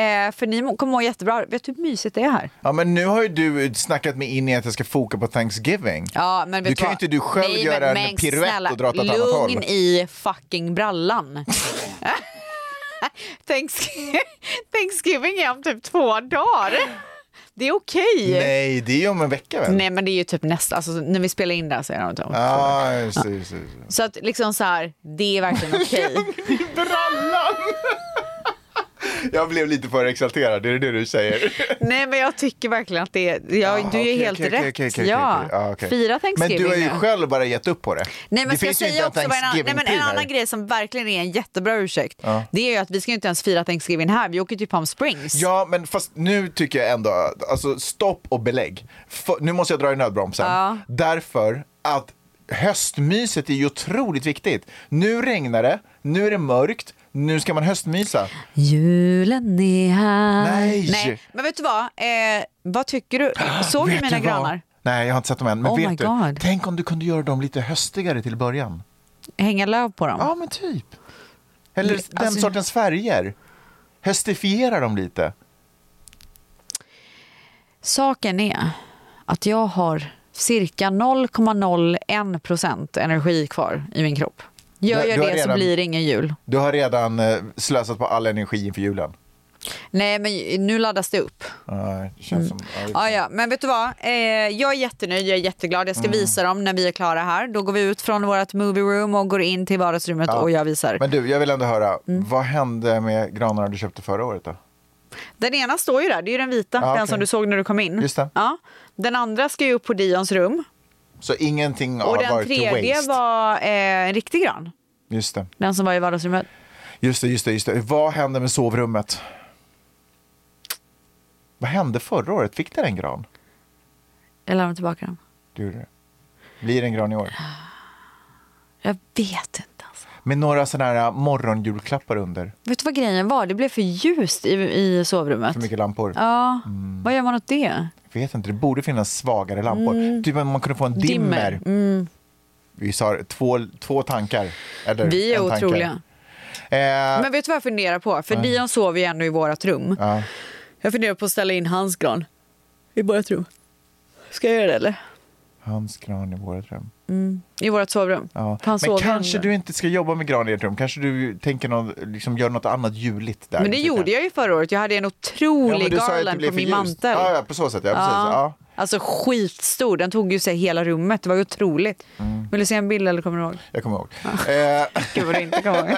Speaker 3: Eh, för ni må- kommer må jättebra. Vet du hur mysigt det är här?
Speaker 1: Ja, men nu har ju du snackat mig in i att jag ska foka på Thanksgiving.
Speaker 3: Ja, men vet
Speaker 1: du kan ju
Speaker 3: vad?
Speaker 1: inte du själv
Speaker 3: Nej,
Speaker 1: göra
Speaker 3: men,
Speaker 1: en
Speaker 3: men
Speaker 1: piruett
Speaker 3: snälla,
Speaker 1: och dra åt ett annat håll.
Speaker 3: Lugn i fucking brallan. Thanksgiving, Thanksgiving är om typ två dagar. Det är okej.
Speaker 1: Nej, det är ju om en vecka väl?
Speaker 3: Nej men det är ju typ nästa, alltså när vi spelar in det här så är det om två veckor.
Speaker 1: Ah, just, det, just, det, just. det.
Speaker 3: Så att liksom så här, det är verkligen okej.
Speaker 1: brallan! Jag blev lite för exalterad, är det det du säger?
Speaker 3: Nej men jag tycker verkligen att det är, ja,
Speaker 1: Jaha,
Speaker 3: du är
Speaker 1: okej,
Speaker 3: helt
Speaker 1: okej,
Speaker 3: rätt.
Speaker 1: okej, okej, okej,
Speaker 3: ja.
Speaker 1: okej. Ja, okej.
Speaker 3: Fira
Speaker 1: Men
Speaker 3: Thanksgiving
Speaker 1: du har ju
Speaker 3: nu.
Speaker 1: själv bara gett upp på det.
Speaker 3: Nej men
Speaker 1: det
Speaker 3: ska jag
Speaker 1: finns ju
Speaker 3: säga
Speaker 1: inte
Speaker 3: också vad en annan, nej, men en
Speaker 1: Thanksgiving-pryl här.
Speaker 3: annan grej som verkligen är en jättebra ursäkt. Det är ju att vi ska ju inte ens fira Thanksgiving här, vi åker till Palm Springs.
Speaker 1: Ja, men fast nu tycker jag ändå, alltså stopp och belägg. F- nu måste jag dra i nödbromsen. Därför att höstmyset är ju otroligt viktigt. Nu regnar det, nu är det mörkt, nu ska man höstmysa.
Speaker 3: Julen är här.
Speaker 1: Nej.
Speaker 3: Men vet du vad, eh, vad tycker du? Såg du
Speaker 1: Vet
Speaker 3: mina
Speaker 1: vad?
Speaker 3: granar?
Speaker 1: Nej, jag har inte sett dem än. Men
Speaker 3: Oh my
Speaker 1: vet du,
Speaker 3: God.
Speaker 1: tänk om du kunde göra dem lite höstigare till början.
Speaker 3: Hänga löv på dem?
Speaker 1: Ja, men typ. Eller
Speaker 3: Det-
Speaker 1: den
Speaker 3: alltså-
Speaker 1: sortens färger. Höstifiera dem lite.
Speaker 3: Saken är att jag har cirka 0,01 procent energi kvar i min kropp. Gör
Speaker 1: Du-
Speaker 3: jag
Speaker 1: du har
Speaker 3: det så
Speaker 1: redan-
Speaker 3: blir det ingen jul.
Speaker 1: Du har redan eh, slösat på all energi inför julen.
Speaker 3: Nej, men nu laddas det upp.
Speaker 1: Ja, det känns som, ja, det-
Speaker 3: Mm.
Speaker 1: Mm.
Speaker 3: Ja, ja. Men vet du vad? Eh, jag är jättenöjd, jag är jätteglad. Jag ska visa dem när vi är klara här. Då går vi ut från vårt movie room och går in till vardagsrummet och jag visar. Mm.
Speaker 1: Men du, jag vill ändå höra, vad hände med granarna du köpte förra året då?
Speaker 3: Den ena står ju där, det är ju den vita,
Speaker 1: Ja,
Speaker 3: den
Speaker 1: okej.
Speaker 3: som du såg när du kom in.
Speaker 1: Just det.
Speaker 3: Ja. Den andra ska ju upp på Dions rum.
Speaker 1: Så ingenting
Speaker 3: Och
Speaker 1: har
Speaker 3: den
Speaker 1: varit till
Speaker 3: tredje
Speaker 1: waste.
Speaker 3: var eh, en riktig gran.
Speaker 1: Just det.
Speaker 3: Den som var i vardagsrummet.
Speaker 1: Just det, just det, just det. Vad hände med sovrummet? Vad hände förra året? Fick det en gran?
Speaker 3: Jag lämnar tillbaka den.
Speaker 1: Du gjorde det. Blir det en gran i år?
Speaker 3: Ah. Jag vet inte. Alltså.
Speaker 1: Med några sådana här morgonjulklappar under.
Speaker 3: Vet du vad grejen var? Det blev för ljust i, i sovrummet.
Speaker 1: För mycket Mm. lampor.
Speaker 3: Ja, vad gör man åt det?
Speaker 1: Jag vet inte, det borde finnas svagare lampor.
Speaker 3: Mm.
Speaker 1: Typ att man kunde få en dimmer. Vi har två, två tankar. Eller
Speaker 3: Vi är
Speaker 1: en tanke.
Speaker 3: otroliga.
Speaker 1: Eh,
Speaker 3: Men vet du vad jag funderar på? För Dion sover ju ändå i vårt rum.
Speaker 1: ja.
Speaker 3: Jag funderar på att ställa in hans gran i vårt rum. Ska jag göra det eller?
Speaker 1: Hans gran i vårt rum.
Speaker 3: I vårt sovrum?
Speaker 1: Ja.
Speaker 3: För han
Speaker 1: Men
Speaker 3: sover
Speaker 1: kanske
Speaker 3: ändå.
Speaker 1: du inte ska jobba med gran i ert rum. Kanske du tänker någon, liksom, gör något annat juligt där.
Speaker 3: Men det gjorde jag ju förra året. Jag hade en otrolig garland på min mantel.
Speaker 1: Ja, ja, på så sätt. Ja, precis. Ja.
Speaker 3: Ja. Alltså skitstor. Den tog ju sig hela rummet. Det var ju otroligt.
Speaker 1: Mm.
Speaker 3: Vill du se en bild eller kommer du ihåg?
Speaker 1: Jag kommer ihåg. Eh,
Speaker 3: Gud vad du inte kommer ihåg.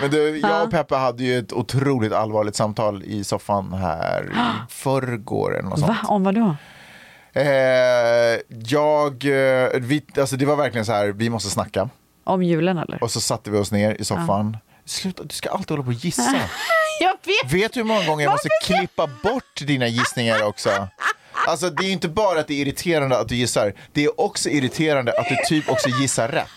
Speaker 1: men du, jag och Peppa hade ju ett otroligt allvarligt samtal i soffan här i förrgår. eller något sånt.
Speaker 3: Va? Om vad då?
Speaker 1: Eh, jag, eh, vi, alltså det var verkligen så här, vi måste snacka.
Speaker 3: Om julen eller?
Speaker 1: Och så satte vi oss ner i soffan. Sluta, du ska alltid hålla på och gissa.
Speaker 3: Jag vet!
Speaker 1: Vet du hur många gånger jag måste klippa bort dina gissningar också? Alltså det är ju inte bara att det är irriterande att du gissar, det är också irriterande att du typ också gissar rätt.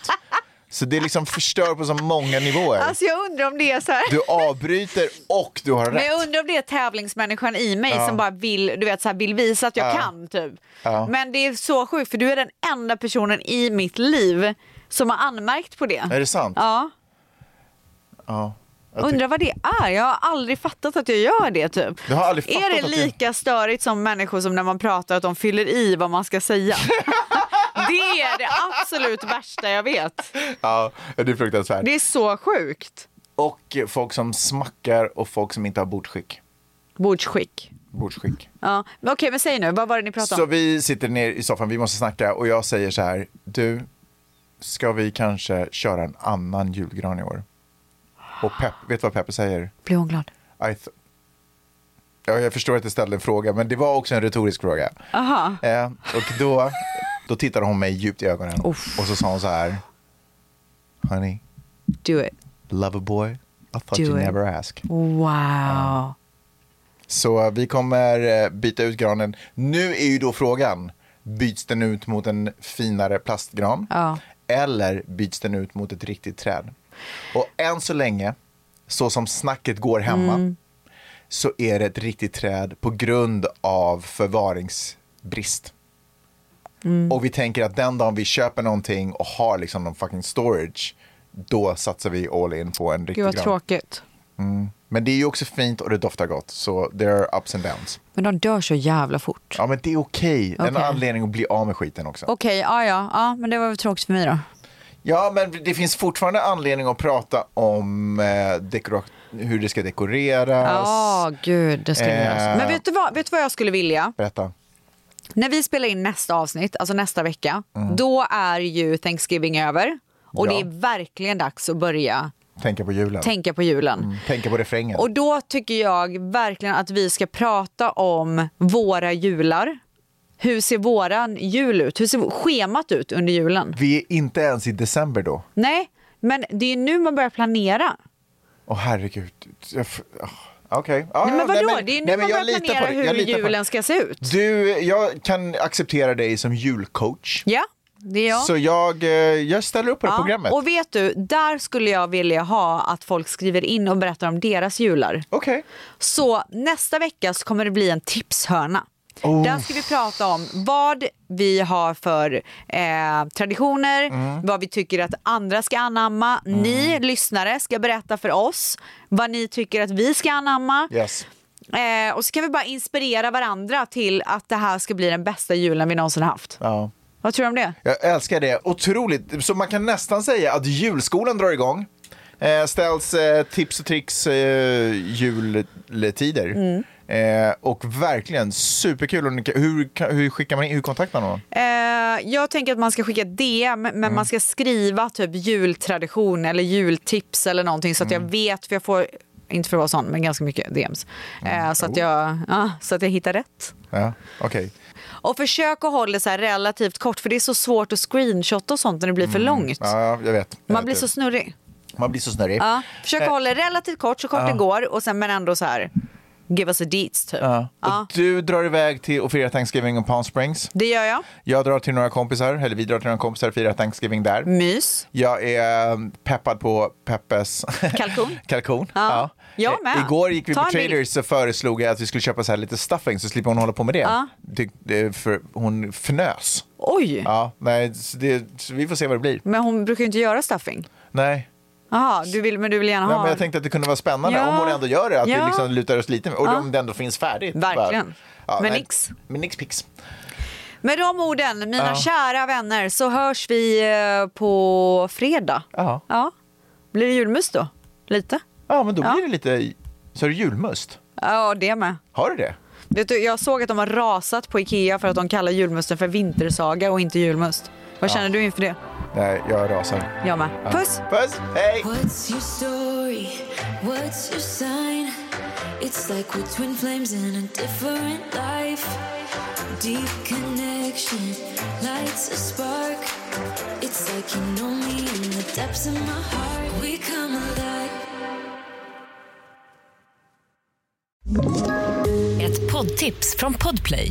Speaker 1: Så det liksom förstör på så många nivåer.
Speaker 3: Alltså jag undrar om det är så här.
Speaker 1: Du avbryter och du har rätt.
Speaker 3: Men jag undrar om det är tävlingsmänniskan i mig som bara vill, du vet, så här, vill visa att jag kan. Typ.
Speaker 1: Ja.
Speaker 3: Men det är så sjukt för du är den enda personen i mitt liv som har anmärkt på det.
Speaker 1: Är det sant?
Speaker 3: Ja.
Speaker 1: Ja. Jag tycker-
Speaker 3: Undrar vad det är. Jag har aldrig fattat att jag gör det. Typ.
Speaker 1: Du har aldrig fattat
Speaker 3: är det
Speaker 1: att du-
Speaker 3: lika störigt som människor som när man pratar att de fyller i vad man ska säga? det är det absolut värsta jag vet.
Speaker 1: Ja, det är fruktansvärt.
Speaker 3: Det är så sjukt.
Speaker 1: Och folk som smackar och folk som inte har bordsskick.
Speaker 3: Bordsskick.
Speaker 1: bordsskick.
Speaker 3: Ja. Men Okej, men säg nu. Vad var det ni pratade
Speaker 1: Så
Speaker 3: om?
Speaker 1: vi sitter ner i soffan, vi måste snacka och jag säger så här, du, ska vi kanske köra en annan julgran i år? Och Pep, vet du vad Peppe säger?
Speaker 3: Blir hon glad?
Speaker 1: I th- ja, jag förstår att jag ställde en fråga, men det var också en retorisk fråga.
Speaker 3: Aha.
Speaker 1: Eh, och då, då tittade hon mig djupt i ögonen och så sa hon så här, honey,
Speaker 3: Do it.
Speaker 1: loverboy, I thought
Speaker 3: Do
Speaker 1: you
Speaker 3: it.
Speaker 1: never ask.
Speaker 3: Wow.
Speaker 1: Så vi kommer eh, byta ut granen. Nu är ju då frågan, byts den ut mot en finare plastgran?
Speaker 3: Ja.
Speaker 1: Eller byts den ut mot ett riktigt träd? Och än så länge, så som snacket går hemma,
Speaker 3: Mm.
Speaker 1: så är det ett riktigt träd på grund av förvaringsbrist.
Speaker 3: Mm.
Speaker 1: Och vi tänker att den dagen vi köper någonting och har liksom någon fucking storage, då satsar vi all in på en riktig
Speaker 3: Gud vad
Speaker 1: gran.
Speaker 3: tråkigt.
Speaker 1: Men det är ju också fint och det doftar gott, så there are ups and downs.
Speaker 3: Men de dör så jävla fort.
Speaker 1: Ja, men det är okej. En
Speaker 3: Okej.
Speaker 1: anledning att bli av med skiten också.
Speaker 3: Okej, ja, ja, ja, men det var väl tråkigt för mig då.
Speaker 1: Ja, men det finns fortfarande anledning att prata om eh, dekora- hur det ska dekoreras.
Speaker 3: Ja, gud, det skulle
Speaker 1: Eh.
Speaker 3: göras. Men vet du, vad, vet du vad jag skulle vilja?
Speaker 1: Berätta.
Speaker 3: När vi spelar in nästa avsnitt, alltså nästa vecka, då är ju Thanksgiving över. Och
Speaker 1: Mm. Ja.
Speaker 3: det är verkligen dags att börja
Speaker 1: Tänka på julen.
Speaker 3: tänka på julen.
Speaker 1: Tänka på refrängen.
Speaker 3: Och då tycker jag verkligen att vi ska prata om våra jular. Hur ser våran jul ut? Hur ser schemat ut under julen?
Speaker 1: Vi är inte ens i december då.
Speaker 3: Nej, men det är ju nu man börjar planera.
Speaker 1: Åh, herregud. Jag f- ah, Okej. Ah,
Speaker 3: Nej, men
Speaker 1: ja,
Speaker 3: vadå?
Speaker 1: nej, men-
Speaker 3: det är nu
Speaker 1: nej, men
Speaker 3: man
Speaker 1: jag
Speaker 3: börjar
Speaker 1: litar på
Speaker 3: planera
Speaker 1: dig. Jag
Speaker 3: hur
Speaker 1: litar på dig.
Speaker 3: julen ska se ut.
Speaker 1: Du, jag kan acceptera dig som julcoach.
Speaker 3: Ja, det är jag.
Speaker 1: Så jag, eh, jag ställer upp på det
Speaker 3: Ja,
Speaker 1: programmet.
Speaker 3: Och vet du, där skulle jag vilja ha att folk skriver in och berättar om deras jular.
Speaker 1: Okej.
Speaker 3: Så nästa vecka så kommer det bli en tipshörna.
Speaker 1: Oh.
Speaker 3: Där ska vi prata om vad vi har för eh, traditioner, vad vi tycker att andra ska anamma. Ni lyssnare ska berätta för oss vad ni tycker att vi ska anamma.
Speaker 1: Yes.
Speaker 3: Eh, och så kan vi bara inspirera varandra till att det här ska bli den bästa julen vi någonsin haft.
Speaker 1: Ja.
Speaker 3: Vad tror du om det?
Speaker 1: Jag älskar det. Otroligt. Så man kan nästan säga att julskolan drar igång. Eh, ställs eh, tips och tricks eh, juletider.
Speaker 3: Mm.
Speaker 1: Eh, och verkligen superkul. Och ni kan- Hur, kan- hur skickar man in, hur kontaktar man någon?
Speaker 3: Eh, jag tänker att man ska skicka ett DM, men
Speaker 1: Mm.
Speaker 3: man
Speaker 1: Mm.
Speaker 3: ska skriva typ jultradition eller jultips eller någonting så att jag vet, för jag får Inte för att vara sån, men ganska mycket DMs.
Speaker 1: Mm,
Speaker 3: Eh, så, att jag, ja, så att jag hittar rätt.
Speaker 1: Ja, okej.
Speaker 3: Och försök att hålla det så här relativt kort, för det är så svårt att screenshotta och sånt när det blir för långt.
Speaker 1: Mm. Ja, typ. Eh, jag vet. Jag
Speaker 3: Man
Speaker 1: vet
Speaker 3: blir
Speaker 1: det.
Speaker 3: så snurrig.
Speaker 1: Man blir så snurrig.
Speaker 3: Ja, försök att hålla det relativt kort, så kort det går, och sen, men ändå så här, give us a deets typ.
Speaker 1: Ja. Och du drar iväg till och firar Thanksgiving och Palm Springs.
Speaker 3: Det gör jag.
Speaker 1: Jag drar till några kompisar, eller vi drar till några kompisar och firar Thanksgiving där.
Speaker 3: Mys.
Speaker 1: Jag är eh, peppad på Peppes
Speaker 3: Kalkon.
Speaker 1: kalkon.
Speaker 3: Ja. Jag
Speaker 1: Eh,
Speaker 3: med.
Speaker 1: Igår gick vi
Speaker 3: Ta
Speaker 1: på
Speaker 3: en bild.
Speaker 1: Traders och föreslog jag att vi skulle köpa så här lite stuffing så slipper hon hålla på med det. Tyck- eh, för hon fnös.
Speaker 3: Oj!
Speaker 1: Ja, nej, så det, så vi får se vad det blir.
Speaker 3: Men hon brukar ju inte göra stuffing.
Speaker 1: Nej.
Speaker 3: Jaha, du vill, men du vill gärna
Speaker 1: Ja,
Speaker 3: ha
Speaker 1: men jag tänkte att det kunde vara spännande
Speaker 3: Ja.
Speaker 1: om hon ändå gör det, att vi
Speaker 3: Ja.
Speaker 1: liksom lutar oss lite med, och om det ändå finns färdigt.
Speaker 3: Verkligen. Men
Speaker 1: nej.
Speaker 3: nix.
Speaker 1: Men nix pix.
Speaker 3: Med de orden, mina kära vänner, så hörs vi eh, på fredag.
Speaker 1: Ja.
Speaker 3: Ja. Blir det julmust då? Lite?
Speaker 1: ja, men då
Speaker 3: Ja.
Speaker 1: blir det lite, så är det julmust.
Speaker 3: Ja, det med.
Speaker 1: Har du det?
Speaker 3: Vet du, jag såg att de har rasat på Ikea för att de kallar julmusten för vintersaga och inte julmust. Vad känner du inför det?
Speaker 1: Nej, jag rasar.
Speaker 3: Jag med. Puss!
Speaker 1: Puss, hej!
Speaker 4: What's your story? What's your sign? It's like we're twin flames in a different life. Deep connection lights a spark. It's like you know me in the depths of my heart. We come alive.
Speaker 5: Ett poddtips från Podplay.